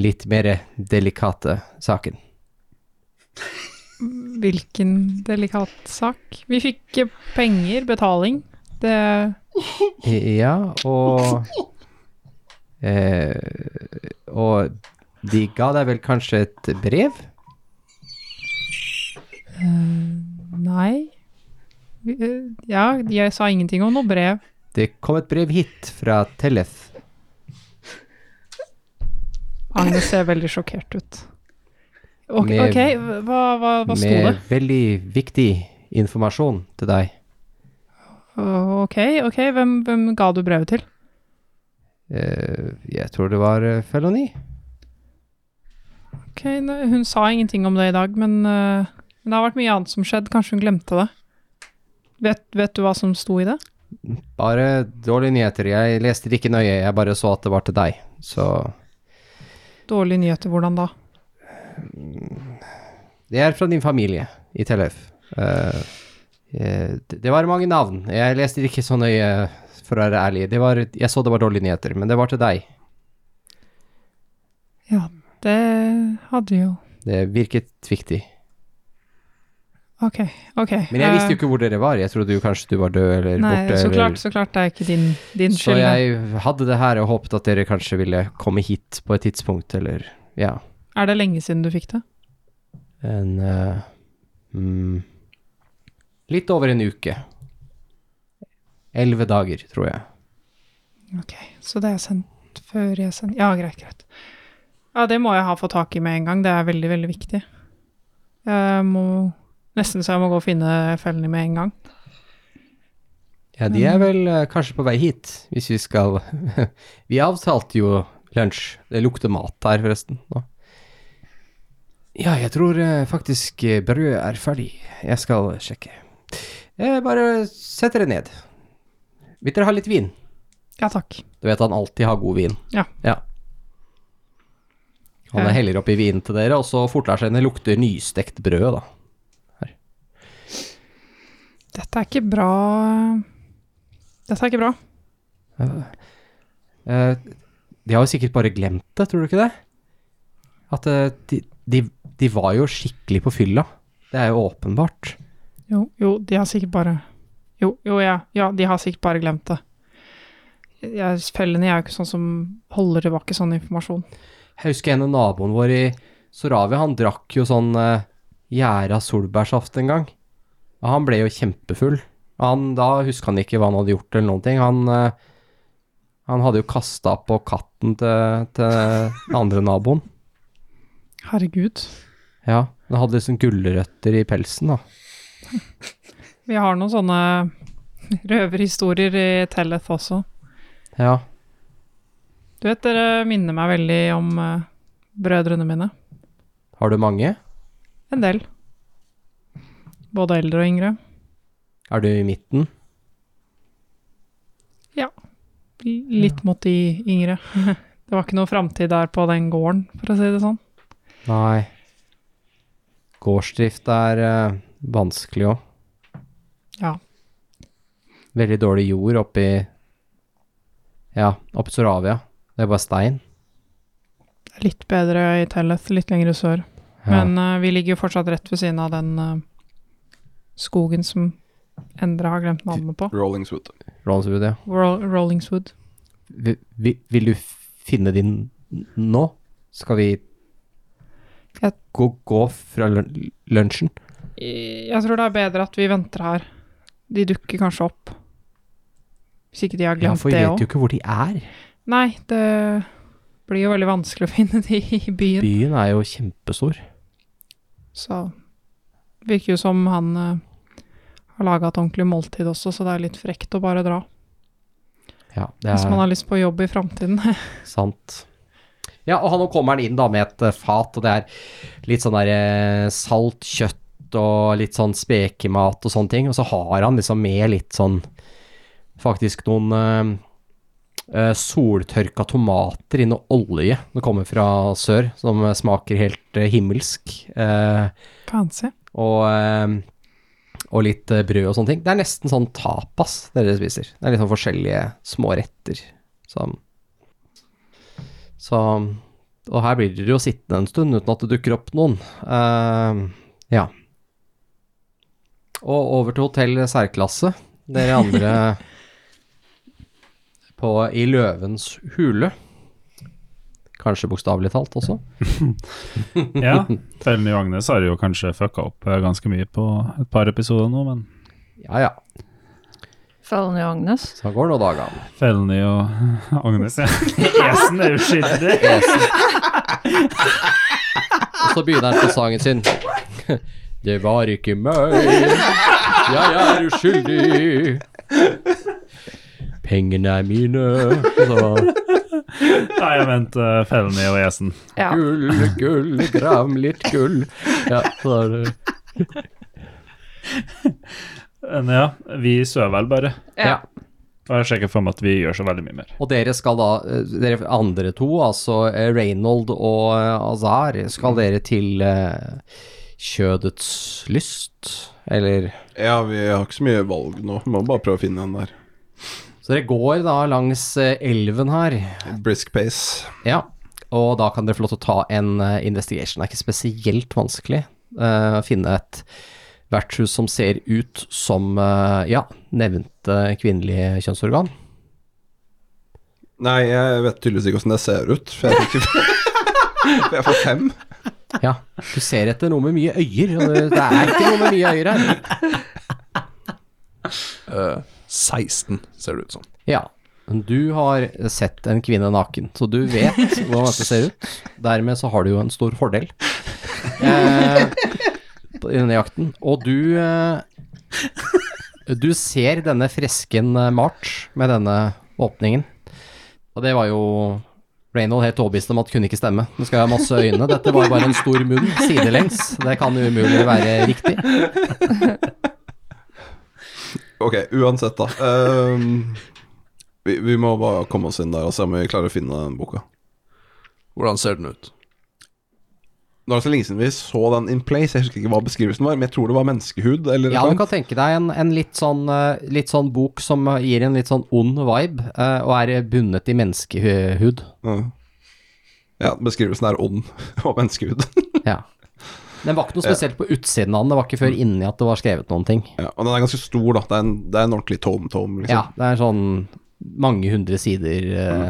Speaker 4: litt mer delikate saken.
Speaker 9: Hvilken delikat sak. Vi fikk eh, penger, betaling. Det
Speaker 4: Ja, og eh, Og de ga deg vel kanskje et brev?
Speaker 9: Nei. Vi- eh, Ja, jeg sa ingenting om noe brev.
Speaker 4: Det kom et brev hit fra Tellef.
Speaker 9: Agnes ser veldig sjokkert ut. Ok,
Speaker 4: Med-
Speaker 9: ok, hva, hva, hva sto det?
Speaker 4: med veldig viktig informasjon til deg.
Speaker 9: Å, Ok, ok, hvem, hvem ga du brevet til?
Speaker 4: Eh, jeg tror det var eh, Felony.
Speaker 9: Ok, nei, Hun sa ingenting om det i dag, men, eh, men det har vært mye annet som skjedd. Kanskje hun glemte det. Vet, vet du hva som sto i det?
Speaker 4: Bare dårlige nyheter. Jeg leste det ikke nøye, jeg bare så at det var til deg. Så
Speaker 9: Dårlige nyheter, hvordan da?
Speaker 4: Det er fra din familie i Tellef. Eh, eh, det det var mange navn. Jeg leste det ikke så nøye, for å være ærlig. Det var, jeg så det var dårlige nyheter, men det var til deg.
Speaker 9: Ja, det hadde jo
Speaker 4: Det virket viktig.
Speaker 9: Ok, ok.
Speaker 4: Men jeg visste jo ikke hvor dere var. Jeg trodde jo kanskje du var død eller
Speaker 9: Eh. Nei,
Speaker 4: borte.
Speaker 9: så
Speaker 4: eller-
Speaker 9: klart, så klart. Det er ikke din, din
Speaker 4: Så
Speaker 9: skyld. det.
Speaker 4: jeg hadde det her og håpet at dere kanskje ville komme hit på et tidspunkt, eller ja.
Speaker 9: Er det lenge siden du fikk det?
Speaker 4: En eh, mm, Litt over en uke. Elleve dager, tror jeg.
Speaker 9: Ok, så det er sendt før jeg sendte Ja, greit, greit. Ja, det må jeg ha fått tak i med en gang. Det er veldig, veldig viktig. Jeg må Nesten så jeg må gå og finne fellene med en gang.
Speaker 4: Ja, de er vel eh, kanskje på vei hit, hvis vi skal [LAUGHS] Vi avtalte jo lunsj. Det lukter mat her, forresten. Nå. Ja, jeg tror eh, faktisk eh, brødet er ferdig. Jeg skal sjekke. Eh, bare sett dere ned. Vil dere ha litt vin?
Speaker 9: Ja, takk.
Speaker 4: Du vet han alltid har god vin.
Speaker 9: Ja.
Speaker 4: Han
Speaker 9: Ja.
Speaker 4: heller oppi vinen til dere, og så fortlærte henne lukter nystekt brød, da.
Speaker 9: Dette er ikke bra Dette er ikke bra.
Speaker 4: Eh, de har jo sikkert bare glemt det, tror du ikke det? At eh, de, de, de var jo skikkelig på fylla. Det er jo åpenbart.
Speaker 9: Jo, jo, de har sikkert bare Jo, jo, ja. ja de har sikkert bare glemt det. Jeg, fellene er jo ikke sånn som holder tilbake sånn informasjon.
Speaker 4: Jeg husker en av naboen vår i Soravia, han drakk jo sånn eh, gjæra solbærsaft en gang. Og han ble jo kjempefull. Og Han, da husker han ikke hva han hadde gjort eller noen ting. Han, eh, han hadde jo kasta på katten til, til den andre naboen.
Speaker 9: Herregud.
Speaker 4: Ja, Han hadde liksom gulrøtter i pelsen, da.
Speaker 9: Vi har noen sånne røverhistorier i Telleth også.
Speaker 4: Ja.
Speaker 9: Du vet, dere minner meg veldig om eh, brødrene mine.
Speaker 4: Har du mange?
Speaker 9: En del. Både eldre og yngre.
Speaker 4: Er du i midten?
Speaker 9: L- Litt mot de yngre. [LAUGHS] det var ikke noe framtid der på den gården, for å si det sånn.
Speaker 4: Nei. Gårdsdrift er eh, vanskelig òg.
Speaker 9: Ja.
Speaker 4: Veldig dårlig jord oppi Ja, oppi Soravia. Det er bare stein.
Speaker 9: Det er Litt bedre i Telleth, litt lenger sør. Men eh, vi ligger jo fortsatt rett ved siden av den eh, skogen som Endre har glemt navnet på.
Speaker 7: Rollingswood.
Speaker 4: Rollingswood, ja.
Speaker 9: Roll Rollingswood.
Speaker 4: Vi, vi, vil du finne din nå? Skal vi
Speaker 9: Jeg-
Speaker 4: gå, gå fra lun- lunsjen?
Speaker 9: I- Jeg tror det er bedre at vi venter her. De dukker kanskje opp. Hvis ikke de har
Speaker 4: Ja,
Speaker 9: glemt
Speaker 4: for vi
Speaker 9: det
Speaker 4: vet
Speaker 9: òg.
Speaker 4: jo ikke hvor de er.
Speaker 9: Nei, det blir jo veldig vanskelig å finne de i byen.
Speaker 4: Byen er jo kjempestor.
Speaker 9: Så virker jo som han eh, har laga et ordentlig måltid også, så det er litt frekt å bare dra.
Speaker 4: Ja, det
Speaker 9: Hvis
Speaker 4: er
Speaker 9: man har lyst på jobb i framtiden. [LAUGHS]
Speaker 4: sant. Ja, og han nå kommer han inn da med et eh, fat, og det er litt sånn der eh, salt kjøtt og litt sånn spekemat og sånne ting, og så har han liksom med litt sånn faktisk noen eh, eh, soltørka tomater i noe olje. Det kommer fra sør, som smaker helt eh, himmelsk. Eh,
Speaker 9: Fancy.
Speaker 4: og, ehm, og litt eh, brød og sånne ting. Det er nesten sånn tapas dere spiser. Det er litt sånn forskjellige små retter. Så, så Og her blir dere jo sittende en stund uten at det dukker opp noen. Ehm, ja. Og over til hotell særklasse. Dere andre på, i løvens hule. Kanskje bokstavelig talt også.
Speaker 5: Ja, Felny og Agnes har jo kanskje fucka opp eh, ganske mye på et par episoder nå, men
Speaker 4: Ja ja,
Speaker 3: Felony Agnes.
Speaker 4: så går nå dagene.
Speaker 5: Felny og [LAUGHS] Agnes, ja. Esen er uskyldig.
Speaker 4: Og så begynner han på sangen sin. [LAUGHS] Det var ikke meg, jeg er uskyldig. Pengene er mine, så
Speaker 5: Nei, jeg mente eh, Felny og Esen.
Speaker 3: Ja.
Speaker 4: gull, gull, grav litt gull. Ja, så er det
Speaker 5: Men ja, vi sover vel bare.
Speaker 4: ja.
Speaker 5: Og jeg ser ikke for meg at vi gjør så veldig mye mer.
Speaker 4: Og dere skal da, eh, dere andre to, altså eh, Reynold og eh, Azar, skal dere til eh, Kjødets lyst, eller
Speaker 7: Ja, vi har ikke så mye valg nå. Må bare prøve å finne en der.
Speaker 4: Så dere går da langs eh, elven her.
Speaker 7: Brisk pace.
Speaker 4: Ja, og da kan dere få lov til å ta en eh, investigation. Det er ikke spesielt vanskelig eh, å finne et vertshus som ser ut som, eh, ja, nevnte kvinnelige kjønnsorgan.
Speaker 7: Nei, jeg vet tydeligvis ikke åssen det ser ut. For jeg, fikk,
Speaker 8: [LAUGHS]
Speaker 7: for jeg får fem.
Speaker 4: Ja, du ser etter noe med mye øyer, og det, det er ikke noe med mye øyer her.
Speaker 8: 16, ser det ut som.
Speaker 4: Ja, men du har sett en kvinne naken, så du vet hvordan dette ser ut. Dermed så har du jo en stor fordel eh, på- i denne jakten. Og du eh, Du ser denne fresken eh, malt med denne åpningen. Og det var jo Reynold helt overbevist om at kunne ikke stemme. Nå skal jeg ha masse øyne. Dette var bare en stor munn sidelengs. Det kan jo umulig være riktig.
Speaker 7: Ok, uansett, da. Ehm, vi, vi må bare komme oss inn der og se om vi klarer å finne den boka.
Speaker 8: Hvordan ser den ut?
Speaker 7: Nå er det så lenge siden vi så den in place. Jeg husker ikke hva beskrivelsen var, men jeg tror det var menneskehud. Eller
Speaker 4: Ja, du
Speaker 7: noe sånt.
Speaker 4: kan tenke deg en, en litt, sånn, eh, litt sånn bok som eh, gir en litt sånn ond vibe, eh, og er bundet i [LAUGHS] menneskehud.
Speaker 7: Ja. Ja, beskrivelsen er ånd [LAUGHS] og menneskehud.
Speaker 4: [LAUGHS] Ja. Den var ikke noe spesielt på utsiden av den, det var ikke før inni at det var skrevet noen ting.
Speaker 7: Ja, og den er ganske stor, da. Det er en, det er en ordentlig tom-tom.
Speaker 4: Ja,
Speaker 7: Liksom.
Speaker 4: det er sånn mange hundre sider eh,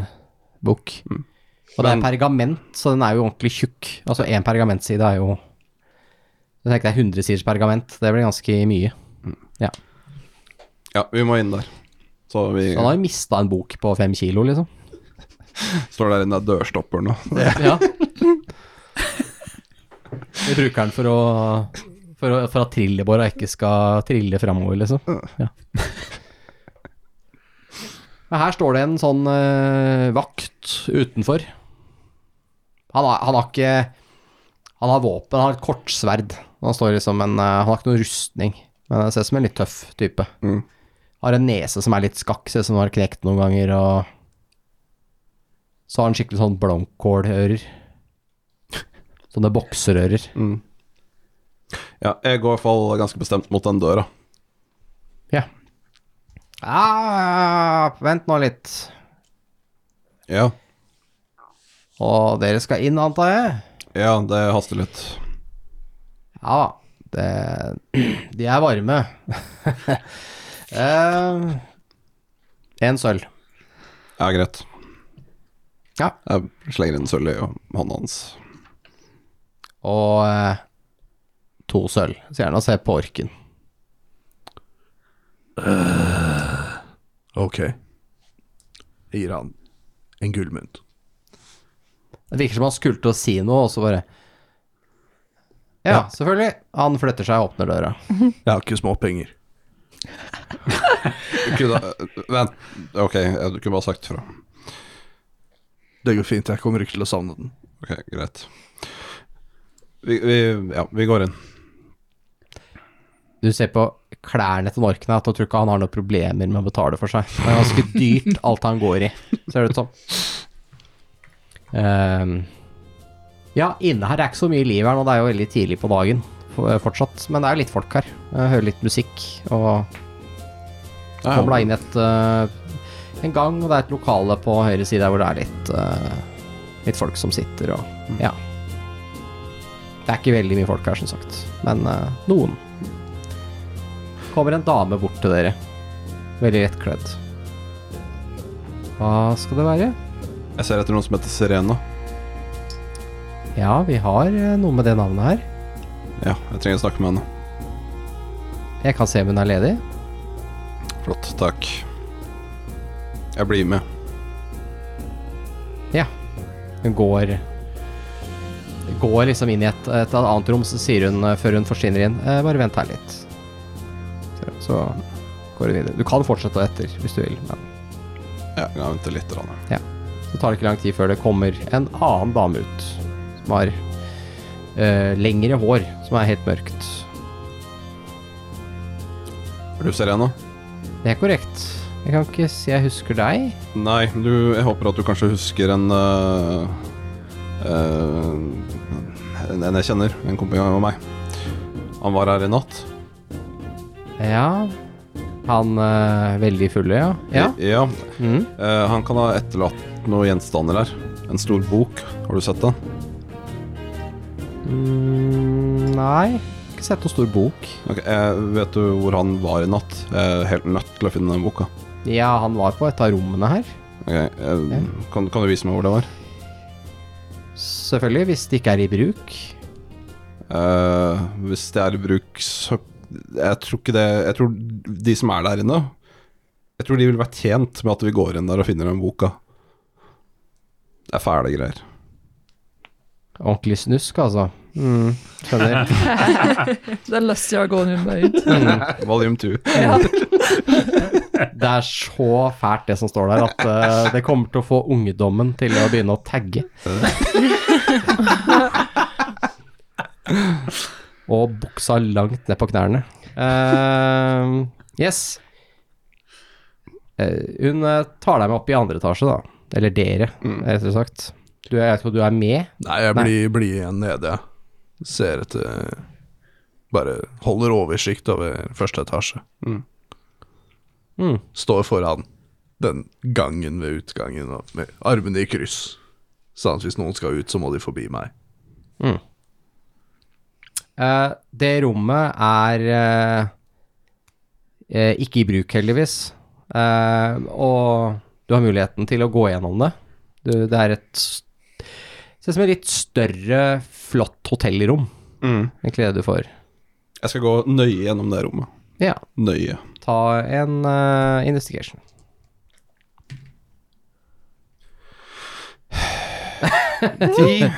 Speaker 4: bok. Og det er pergament, så den er jo ordentlig tjukk. Altså én pergamentside er jo Jeg tenker det er 100 siders pergament, det blir ganske mye.
Speaker 7: Ja. vi må inn der. Så vi
Speaker 4: Så han har jo mista en bok på fem kilo, liksom.
Speaker 7: står der inne i dørstopperen og
Speaker 4: Ja. Vi bruker den for å for, å- for at trillebåra ikke skal trille framover, liksom. Ja. Men her står det en sånn eh, vakt utenfor. Han har, han har ikke Han har våpen, han har et kortsverd. Han står liksom en eh, Han har ikke noe rustning, men han ser ut som en litt tøff type.
Speaker 7: Mm.
Speaker 4: Har en nese som er litt skakk, ser ut som den har knekt noen ganger, og så har han skikkelig sånn blankålører. Sånne bokserører.
Speaker 7: Ja, jeg går i hvert fall ganske bestemt mot den døra.
Speaker 4: Ah, vent nå litt.
Speaker 7: Ja,
Speaker 4: Og dere skal inn, antar jeg?
Speaker 7: ja det haster litt.
Speaker 4: Ja da. Det, de er varme. [LAUGHS] eh, en sølv.
Speaker 7: Ja, greit.
Speaker 4: Ja.
Speaker 7: Jeg slenger en sølv i hånda hans.
Speaker 4: Og eh, to sølv. Så gjerne å se på orken.
Speaker 8: Ok. Jeg gir han en gullmynt.
Speaker 4: Det virker som han skulle til å si noe, og så bare Ja, selvfølgelig. Han flytter seg og åpner døra.
Speaker 8: Jeg har ikke småpenger.
Speaker 7: Du kunne, vent, ok, ja, du kunne bare sagt fra.
Speaker 8: Det går fint, jeg kommer ikke til å savne den.
Speaker 7: Ok, greit. Vi, vi, ja, vi går inn.
Speaker 4: Du ser på klærne til Norken at jeg tror ikke han har noen problemer med å betale for seg. Det er ganske dyrt, alt han går i, ser det ut som. Ehm, ja, inne her er ikke så mye liv her nå, det er jo veldig tidlig på dagen for- fortsatt. Men det er jo litt folk her. Jeg hører litt musikk og Kommer da inn i et eh, en gang, og det er et lokale på høyre side hvor det er litt eh, litt folk som sitter og ja. Det er ikke veldig mye folk her, som sagt, men eh, noen kommer en dame bort til dere. Veldig lettkledd. Hva skal det være?
Speaker 7: Jeg ser etter noen som heter Serena.
Speaker 4: Ja, vi har eh, noe med det navnet her.
Speaker 7: Ja, jeg trenger å snakke med henne.
Speaker 4: Jeg kan se om hun er ledig.
Speaker 7: Flott, takk. Jeg blir med.
Speaker 4: Hun går Går liksom inn i et, et annet rom, så sier hun eh, før hun forsvinner inn eh, Bare vent her litt. Så- Så går hun videre. Du kan fortsette etter hvis du vil, men
Speaker 7: Ja, jeg venter litt. Rann.
Speaker 4: så tar det ikke lang tid før det kommer en annen dame ut. Som har eh, lengre hår, som er helt mørkt.
Speaker 7: Er du Serena?
Speaker 4: Det er korrekt. Jeg kan ikke si jeg husker deg.
Speaker 7: Nei, du, jeg håper at du kanskje husker en øh, øh, en, en jeg kjenner, en kompis av meg. Han var her i natt.
Speaker 4: Ja Han eh, veldig fulle, ja. Ja.
Speaker 7: I- ja.
Speaker 4: Mm.
Speaker 7: Eh, han kan ha etterlatt noen gjenstander her. En stor bok. Har du sett den?
Speaker 4: Mm, nei, ikke sett noen stor bok.
Speaker 7: Ok, eh, vet du hvor han var i natt? Jeg er helt nødt til å finne den boka.
Speaker 4: Ja, han var på et av rommene her.
Speaker 7: Ok, eh, kan, kan du vise meg hvor det var?
Speaker 4: Selvfølgelig, hvis det ikke er i bruk.
Speaker 7: Eh, hvis det er i bruk, så Jeg tror ikke det Jeg tror de som er der inne Jeg tror de vil være tjent med at vi går inn der og finner den boka. Det er fæle greier.
Speaker 4: Ordentlig snusk, altså. Mm, skjønner.
Speaker 3: Det er lyst til å gå en runde ut.
Speaker 7: [LAUGHS] Volume 2.
Speaker 4: Det er så fælt det som står der, at eh, det kommer til å få ungdommen til å begynne å tagge. Og buksa langt ned på knærne. Eh, yes. Eh, hun eh, tar deg med opp i andre etasje, da. Eller dere, rettere sagt. Du, jeg vet ikke om du er med.
Speaker 8: Nei, jeg blir, blir igjen nede, jeg. Ser etter Bare holder oversikt over første etasje.
Speaker 4: Mm.
Speaker 8: Står foran den gangen ved utgangen og med armene i kryss. Sånn at hvis noen skal ut, så må de forbi meg.
Speaker 4: Eh, det rommet er eh, eh, ikke i bruk, heldigvis. Eh, og du har muligheten til å gå gjennom det. Du, det er et s- Ser ut som et litt større, flott hotellrom,
Speaker 7: Mm.
Speaker 4: egentlig det du får.
Speaker 7: Jeg skal gå nøye gjennom det rommet.
Speaker 4: Ja.
Speaker 7: Nøye.
Speaker 4: Ta en eh, investigation. Ti.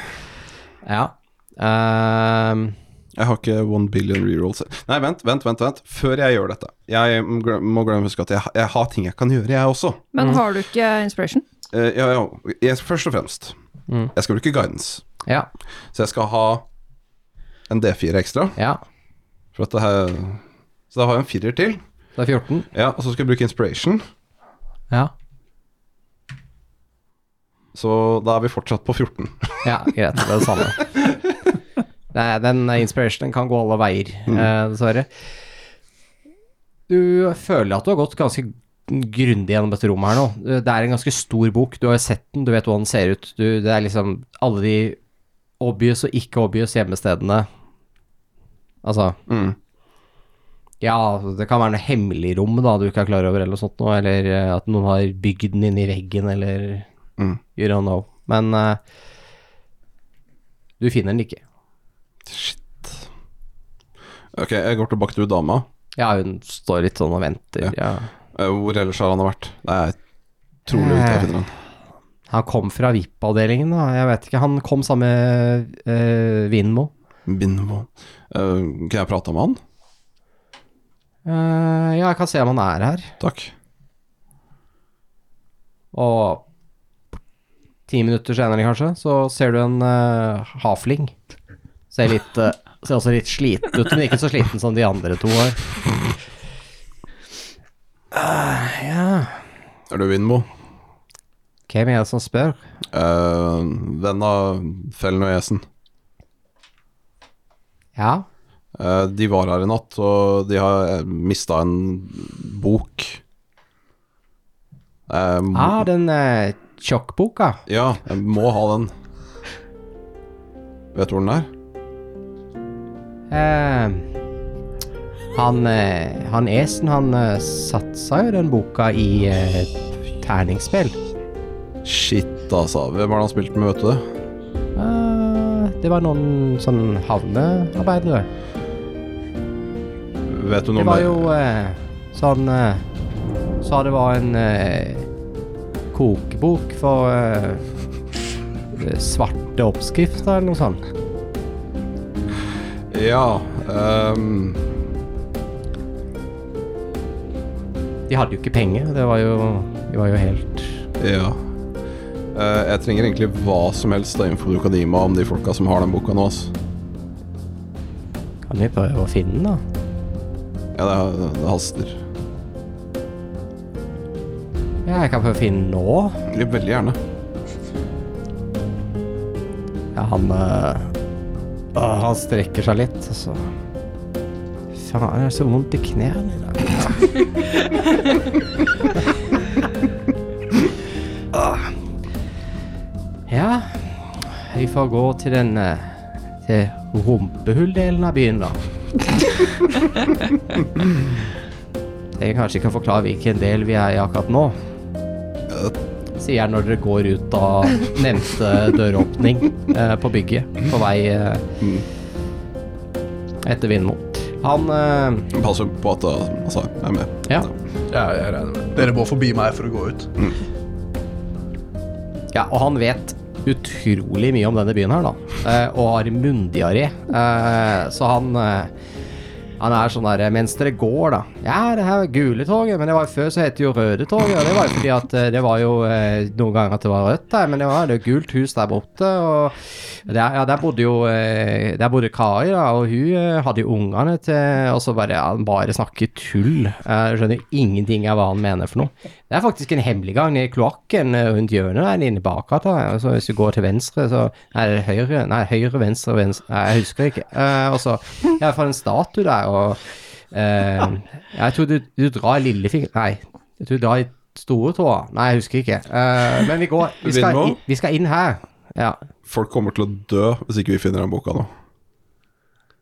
Speaker 4: ja. Ehm,
Speaker 7: Jeg har ikke one billion rerolls. Nei, vent, vent, vent. vent Før jeg gjør dette Jeg glem- må glemme å huske at jeg, ha- jeg har ting jeg kan gjøre, jeg også.
Speaker 3: Men har du ikke inspiration?
Speaker 7: Eh, ja, ja, jeg, først og fremst, jeg skal bruke guidance.
Speaker 4: ja.
Speaker 7: Så jeg skal ha en D4 ekstra.
Speaker 4: Ja.
Speaker 7: For at det her, så da har jeg en firer til.
Speaker 4: Det er 14.
Speaker 7: Ja, Og så skal jeg bruke inspiration.
Speaker 4: Ja.
Speaker 7: Så da er vi fortsatt på 14.
Speaker 4: [LAUGHS] Ja, greit. Det er det samme. Nei, den inspirationen kan gå alle veier,
Speaker 7: Mm.
Speaker 4: eh, dessverre. Du føler at du har gått ganske grundig gjennom dette rommet her nå. Det er en ganske stor bok. Du har jo sett den, du vet hvordan den ser ut. Du, det er liksom alle de obvious og ikke obvious hjemmestedene Altså
Speaker 7: Mm.
Speaker 4: Ja, det kan være noe hemmelig rom da du ikke er klar over, eller noe sånt noe, eller eh, at noen har bygd den inn i veggen, eller
Speaker 7: Mm.
Speaker 4: You don't know. Men eh, du finner den ikke.
Speaker 7: Shit. Ok, jeg går tilbake til dama.
Speaker 4: Ja, hun står litt sånn og venter.
Speaker 7: Ja.
Speaker 4: Ja.
Speaker 7: Eh, Hvor ellers har han vært? Det er trolig ute jeg finner han.
Speaker 4: Han kom fra VIP-avdelingen, da. Jeg vet ikke. Han kom sammen med eh, Vinmo.
Speaker 7: Bindvo. Eh, kan jeg prate med han?
Speaker 4: Eh, ja, jeg kan se om han er her.
Speaker 7: Takk.
Speaker 4: Og ti minutter senere, kanskje, så ser du en eh, hafling. Ser, litt, eh, ser også litt sliten ut, men ikke så sliten som de andre to var. Eh, ja
Speaker 7: Er du Bindvo?
Speaker 4: Hvem er det som spør?
Speaker 7: Eh, venn av Fellen og Esen.
Speaker 4: Ja,
Speaker 7: Eh, de var her i natt, og de har mista en bok. Eh, må-
Speaker 4: ah, den eh, tjokkboka.
Speaker 7: Ja, jeg må ha den. Vet du hvor den er?
Speaker 4: Eh, han, eh, han Esen, han eh, satsa jo den boka i eh, terningspill.
Speaker 7: Shit, altså. Hvem har han spilt med, vet du det?
Speaker 4: Eh, det var noen sånn havnearbeidere.
Speaker 7: Vet du noe
Speaker 4: Det var
Speaker 7: mer-
Speaker 4: jo eh, sånn eh, Sa det var en eh, kokebok for eh, [LAUGHS] svarte oppskrifter eller noe sånt.
Speaker 7: Ja. ehm,
Speaker 4: De hadde jo ikke penger. Det var jo, de var jo helt
Speaker 7: ja. Eh, jeg trenger egentlig hva som helst av info du kan gi meg om de folka som har den boka nå. ass.
Speaker 4: Kan vi prøve å finne den, da?
Speaker 7: Ja, det, det haster.
Speaker 4: Ja, jeg kan prøve å finne den nå.
Speaker 7: Ja, Veldig gjerne.
Speaker 4: Ja, han øh, øh, Han strekker seg litt, og så Faen, jeg har så vondt i knærne i dag. [LAUGHS] Åh. Ah. Ja Vi får gå til den øh, Til rumpehulldelen av byen, da. [LAUGHS] Jeg kanskje ikke kan forklare hvilken del vi er i akkurat nå. Sier jeg når dere går ut av nevnte døråpning eh, på bygget på vei eh, etter Vindmo. Han eh,
Speaker 7: Pass på at eh, altså, jeg er med.
Speaker 4: ja.
Speaker 8: Ja, jeg regner med Mm.
Speaker 6: Dere må forbi meg for å gå ut.
Speaker 4: ja, og han vet utrolig mye om denne byen her, da. Eh, og har munndiaré. Eh, så han eh, han er sånn der Mens dere går, da Ja, det her er gule toget, men det var jo før så het det jo røde toget. Og det var jo fordi at eh, det var jo eh, noen ganger at det var rødt der, men det var det var gult hus der borte. Og der, ja, der bodde jo eh, Der bodde Kari, da, og hun eh, hadde jo ungene til Og så bare ja, han bare snakker tull. Jeg skjønner ingenting av hva han mener for noe. Det er faktisk en hemmeliggang nede i kloakken eh, rundt hjørnet der inne i bakgata. Altså, hvis du går til venstre, så Nei, det er høyre, nei, høyre, venstre, venstre Nei, jeg husker ikke. Eh, og så Jeg har fått en statue der, og eh, Jeg tror du, du drar i lillefinger Nei, jeg tror du drar i store tåa. Nei, jeg husker ikke. Eh, men vi går. Vi skal,
Speaker 7: Vindmo?
Speaker 4: i, vi skal inn her. Ja.
Speaker 7: Folk kommer til å dø hvis ikke vi finner den boka nå.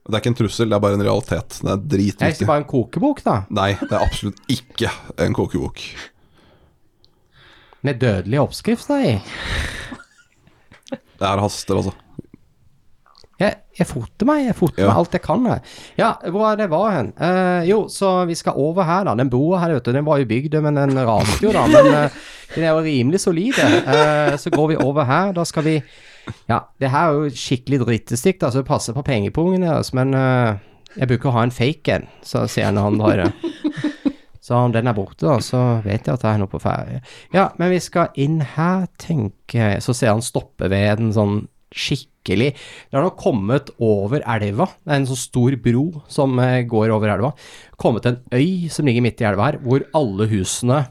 Speaker 7: Det er ikke en trussel, det er bare en realitet. Det er
Speaker 4: Jeg husker
Speaker 7: dritviktig.
Speaker 4: bare en kokebok, da.
Speaker 7: Nei, det er absolutt ikke en kokebok.
Speaker 4: Med dødelig oppskrift, da. Jeg,
Speaker 7: Det her haster, altså.
Speaker 4: jeg, jeg foter meg. Jeg foter
Speaker 7: Ja.
Speaker 4: meg alt jeg kan. Jeg. Ja, hvor er det var hen? Eh, jo, så vi skal over her, da. Den broa her, vet du, den var jo bygd, men den raste jo, da. Men eh, den er jo rimelig solide. Eh, så går vi over her. Da skal vi Ja, det her er jo skikkelig drittestikk, da, så det passer på pengepungen deres, men eh, jeg bruker å ha en fake en, så sier jeg når han drar det. Så om den er borte, da, så vet jeg at det er noe på ferde. Ja, men vi skal inn her, tenker jeg. Så ser han stoppe ved en sånn skikkelig Det har nok kommet over elva. Det er en sånn stor bro som eh, går over elva. Kommet til en øy som ligger midt i elva her, hvor alle husene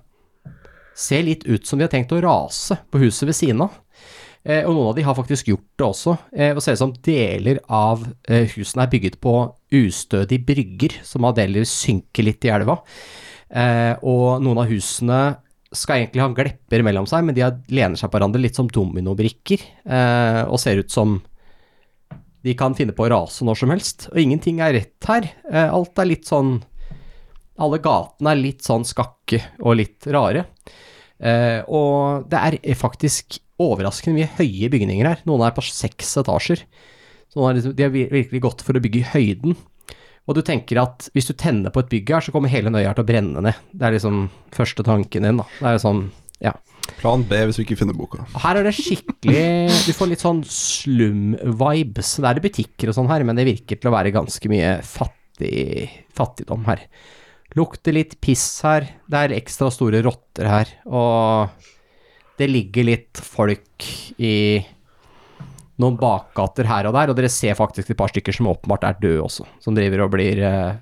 Speaker 4: ser litt ut som de har tenkt å rase på huset ved siden av. Eh, og noen av de har faktisk gjort det også. Eh, og ser ut som deler av eh, husene er bygget på ustødige brygger, som av deler synker litt i elva. Eh, og noen av husene skal egentlig ha glepper mellom seg, men de har- lener seg på hverandre litt som dominobrikker, eh, og ser ut som De kan finne på å rase når som helst, og ingenting er rett her. Eh, Alt er litt sånn Alle gatene er litt sånn skakke og litt rare. Eh, Og det er eh, faktisk overraskende mye høye bygninger her. Noen er på seks etasjer. Så noen er liksom- de har vir- virkelig gått for å bygge i høyden. Og du tenker at hvis du tenner på et bygg her, så kommer hele Nøya til å brenne ned. Det er liksom første tanken din, da. Det er jo sånn, ja.
Speaker 7: Plan B hvis vi ikke finner boka.
Speaker 4: Og Her er det skikkelig Du får litt sånn slum-vibes. Det er det butikker og sånn her, men det virker til å være ganske mye fattig, fattigdom her. Lukter litt piss her. Det er ekstra store rotter her. Og det ligger litt folk i noen bakgater her og der, og dere ser faktisk et par stykker som åpenbart er døde også, som driver og blir eh,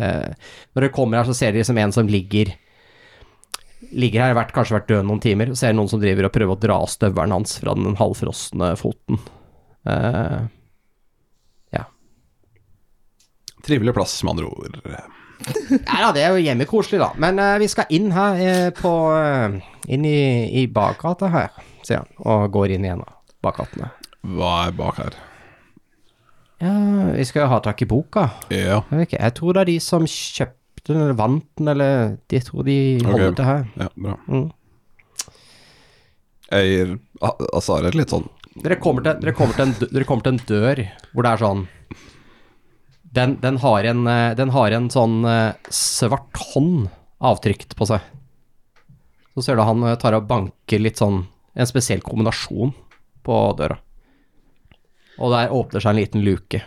Speaker 4: eh, Når dere kommer her, så ser dere som en som ligger ligger her, vært, kanskje vært død noen timer, og ser noen som driver og prøver å dra av støvelen hans fra den halvfrosne foten. Eh,
Speaker 7: Trivelig plass, med andre ord.
Speaker 4: ja da, det er jo hjemmekoselig, da. Men eh, vi skal inn her eh, på eh, Inn i, i bakgata her, sier han, og går inn i en av bakgatene.
Speaker 7: Hva er bak her?
Speaker 4: Ja, vi skal jo ha tak i boka.
Speaker 7: Ja.
Speaker 4: Jeg, vet ikke, jeg tror det er de som kjøpte den eller vant den, eller de tror de holder
Speaker 7: Ok.
Speaker 4: til her.
Speaker 7: ja bra.
Speaker 4: Mm.
Speaker 7: Eier Al- Azar er litt sånn
Speaker 4: Dere kommer, til, dere, kommer til en, dø- dere kommer til en dør hvor det er sånn Den, den, har, en, eh, den har en sånn eh, svart hånd avtrykt på seg. Så ser du han eh, tar og banker litt sånn En spesiell kombinasjon på døra. Og der åpner seg en liten luke.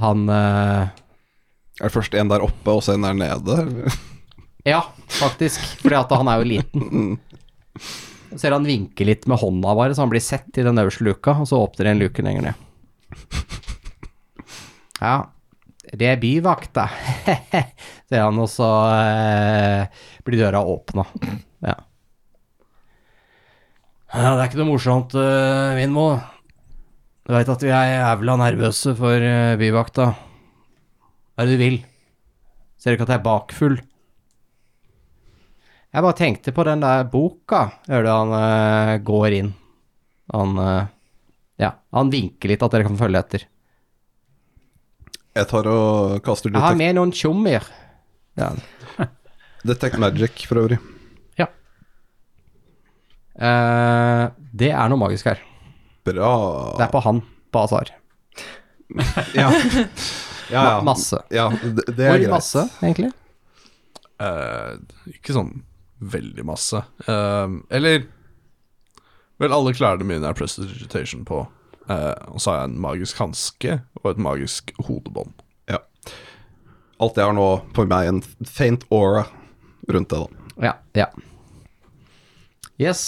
Speaker 4: Han eh,
Speaker 7: Er det først en der oppe og så en der nede? eller?
Speaker 4: Ja, faktisk. Fordi at han er jo liten. [LAUGHS] Så Ser han vinker litt med hånda bare, så han blir sett i den øverste luka, og så åpner det en luke lenger [LAUGHS] ned. Ja, det er [LAUGHS] byvakta, sier han, og så eh, blir døra åpna. Ja. ja, det er ikke noe morsomt, eh, Vindmo. Du veit at vi er jævla nervøse for eh, byvakta. Hva er det du vil? Ser du ikke at jeg er bakfull? Jeg bare tenkte på den der boka, hører du han eh, går inn. Han eh, Ja, han vinker litt at dere kan følge etter.
Speaker 7: Jeg tar og kaster
Speaker 4: Jeg har
Speaker 7: detect,
Speaker 4: med noen tjommer. Ja.
Speaker 7: detect magic for øvrig.
Speaker 4: Eh, det er noe magisk her.
Speaker 7: Bra.
Speaker 4: Det er på han, på Azar.
Speaker 7: Ja, [LAUGHS] ja.
Speaker 4: Ma-
Speaker 7: ja.
Speaker 4: Masse.
Speaker 7: Ja, det, det er
Speaker 4: Hvor
Speaker 7: greit.
Speaker 4: masse, egentlig?
Speaker 6: Eh, ikke sånn veldig masse. Eh, eller Vel, alle klærne mine er prestigitation på. Eh, og så har jeg en magisk hanske og et magisk hodebånd.
Speaker 7: Alt det har nå for meg en faint aura rundt det, da.
Speaker 4: Ja. ja. Yes.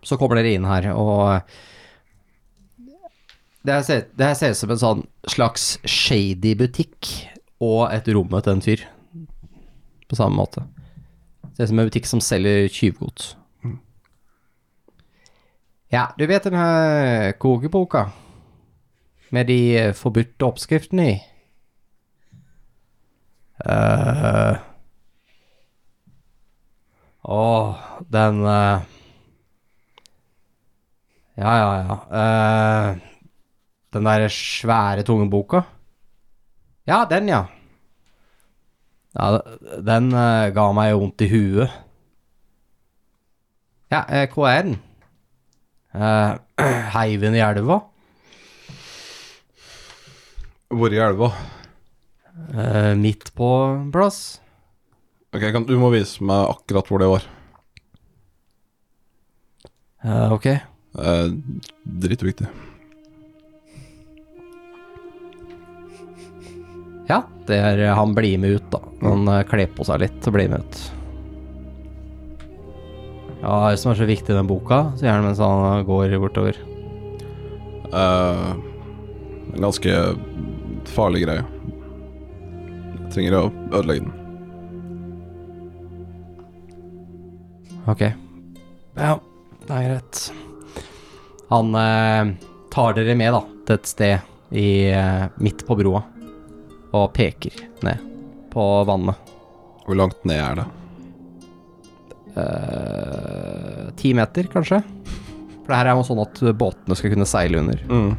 Speaker 4: Så kommer dere inn her, og eh, Det her ser, det her ser ut som en sånn slags shady butikk og et rom til en fyr. På samme måte. Ser ut som en butikk som selger tyvgods. Ja, du vet den her kokeboka med de eh, forbudte oppskriftene i? Eh, Åh, den eh, Ja, ja, ja. eh, den derre svære, tunge boka? Ja, den, ja. Ja, d- den eh, ga meg vondt i huet. Ja, eh, hva er den? Uh, [CLEARS THROAT] heiven i elva?
Speaker 7: Hvor i elva?
Speaker 4: Eh, midt på en plass?
Speaker 7: Ok, kan, Du må vise meg akkurat hvor det var.
Speaker 4: Eh, ok.
Speaker 7: Eh, Dritviktig.
Speaker 4: Ja, det er, eh, han blir med ut, da. Han eh, kler på seg litt og blir med ut. Ja, hva er det som er så viktig i den boka? sier han mens han går bortover.
Speaker 7: Eh, en ganske farlig greie. Jeg trenger å ødelegge den.
Speaker 4: Ok. Ja, det er greit. Han eh, tar dere med, da, til et sted i, eh, midt på broa. Og peker ned på vannet.
Speaker 7: Hvor langt ned er det?
Speaker 4: Eh, Ti meter, kanskje? For det her er jo sånn at båtene skal kunne seile under.
Speaker 7: Mm.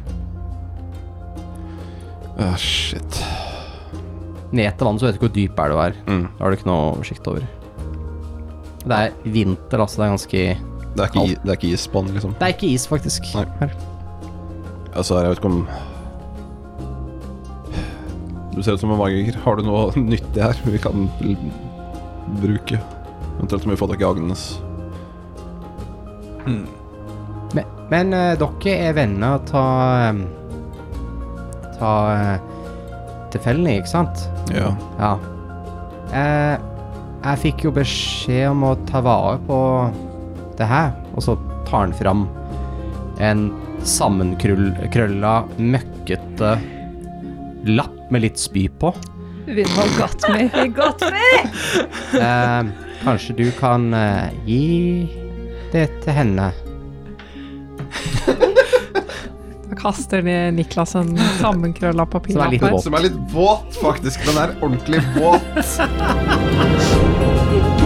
Speaker 7: Ah, shit.
Speaker 4: Ned til vannet så vet du ikke hvor dyp er du er.
Speaker 7: Mm.
Speaker 4: Det har du ikke noe oversikt over. Det er vinter, altså. Det er ganske
Speaker 7: Det er ikke, i- det er ikke isbånd, liksom?
Speaker 4: Det er ikke is, faktisk.
Speaker 7: Nei. Altså, jeg vet ikke om Du ser ut som en magiker. Har du noe [LAUGHS] nyttig her vi kan l- bruke? Eventuelt om vi får tak i Agnes.
Speaker 4: Men, men eh, dere er venner og ta eh, Ta eh, til Felny, ikke sant?
Speaker 7: Ja.
Speaker 4: Ja. Eh, jeg fikk jo beskjed om å ta vare på det her, og så tar han fram en sammenkrølla, møkkete lapp med litt spy på.
Speaker 3: Vinvold got me. He got me!
Speaker 4: Eh, kanskje du kan eh, gi det til henne?
Speaker 9: Da kaster ned Niklas en sammenkrølla
Speaker 4: Som er litt
Speaker 9: papirlapp.
Speaker 4: våt.
Speaker 7: Som er litt våt, faktisk. Den er ordentlig våt.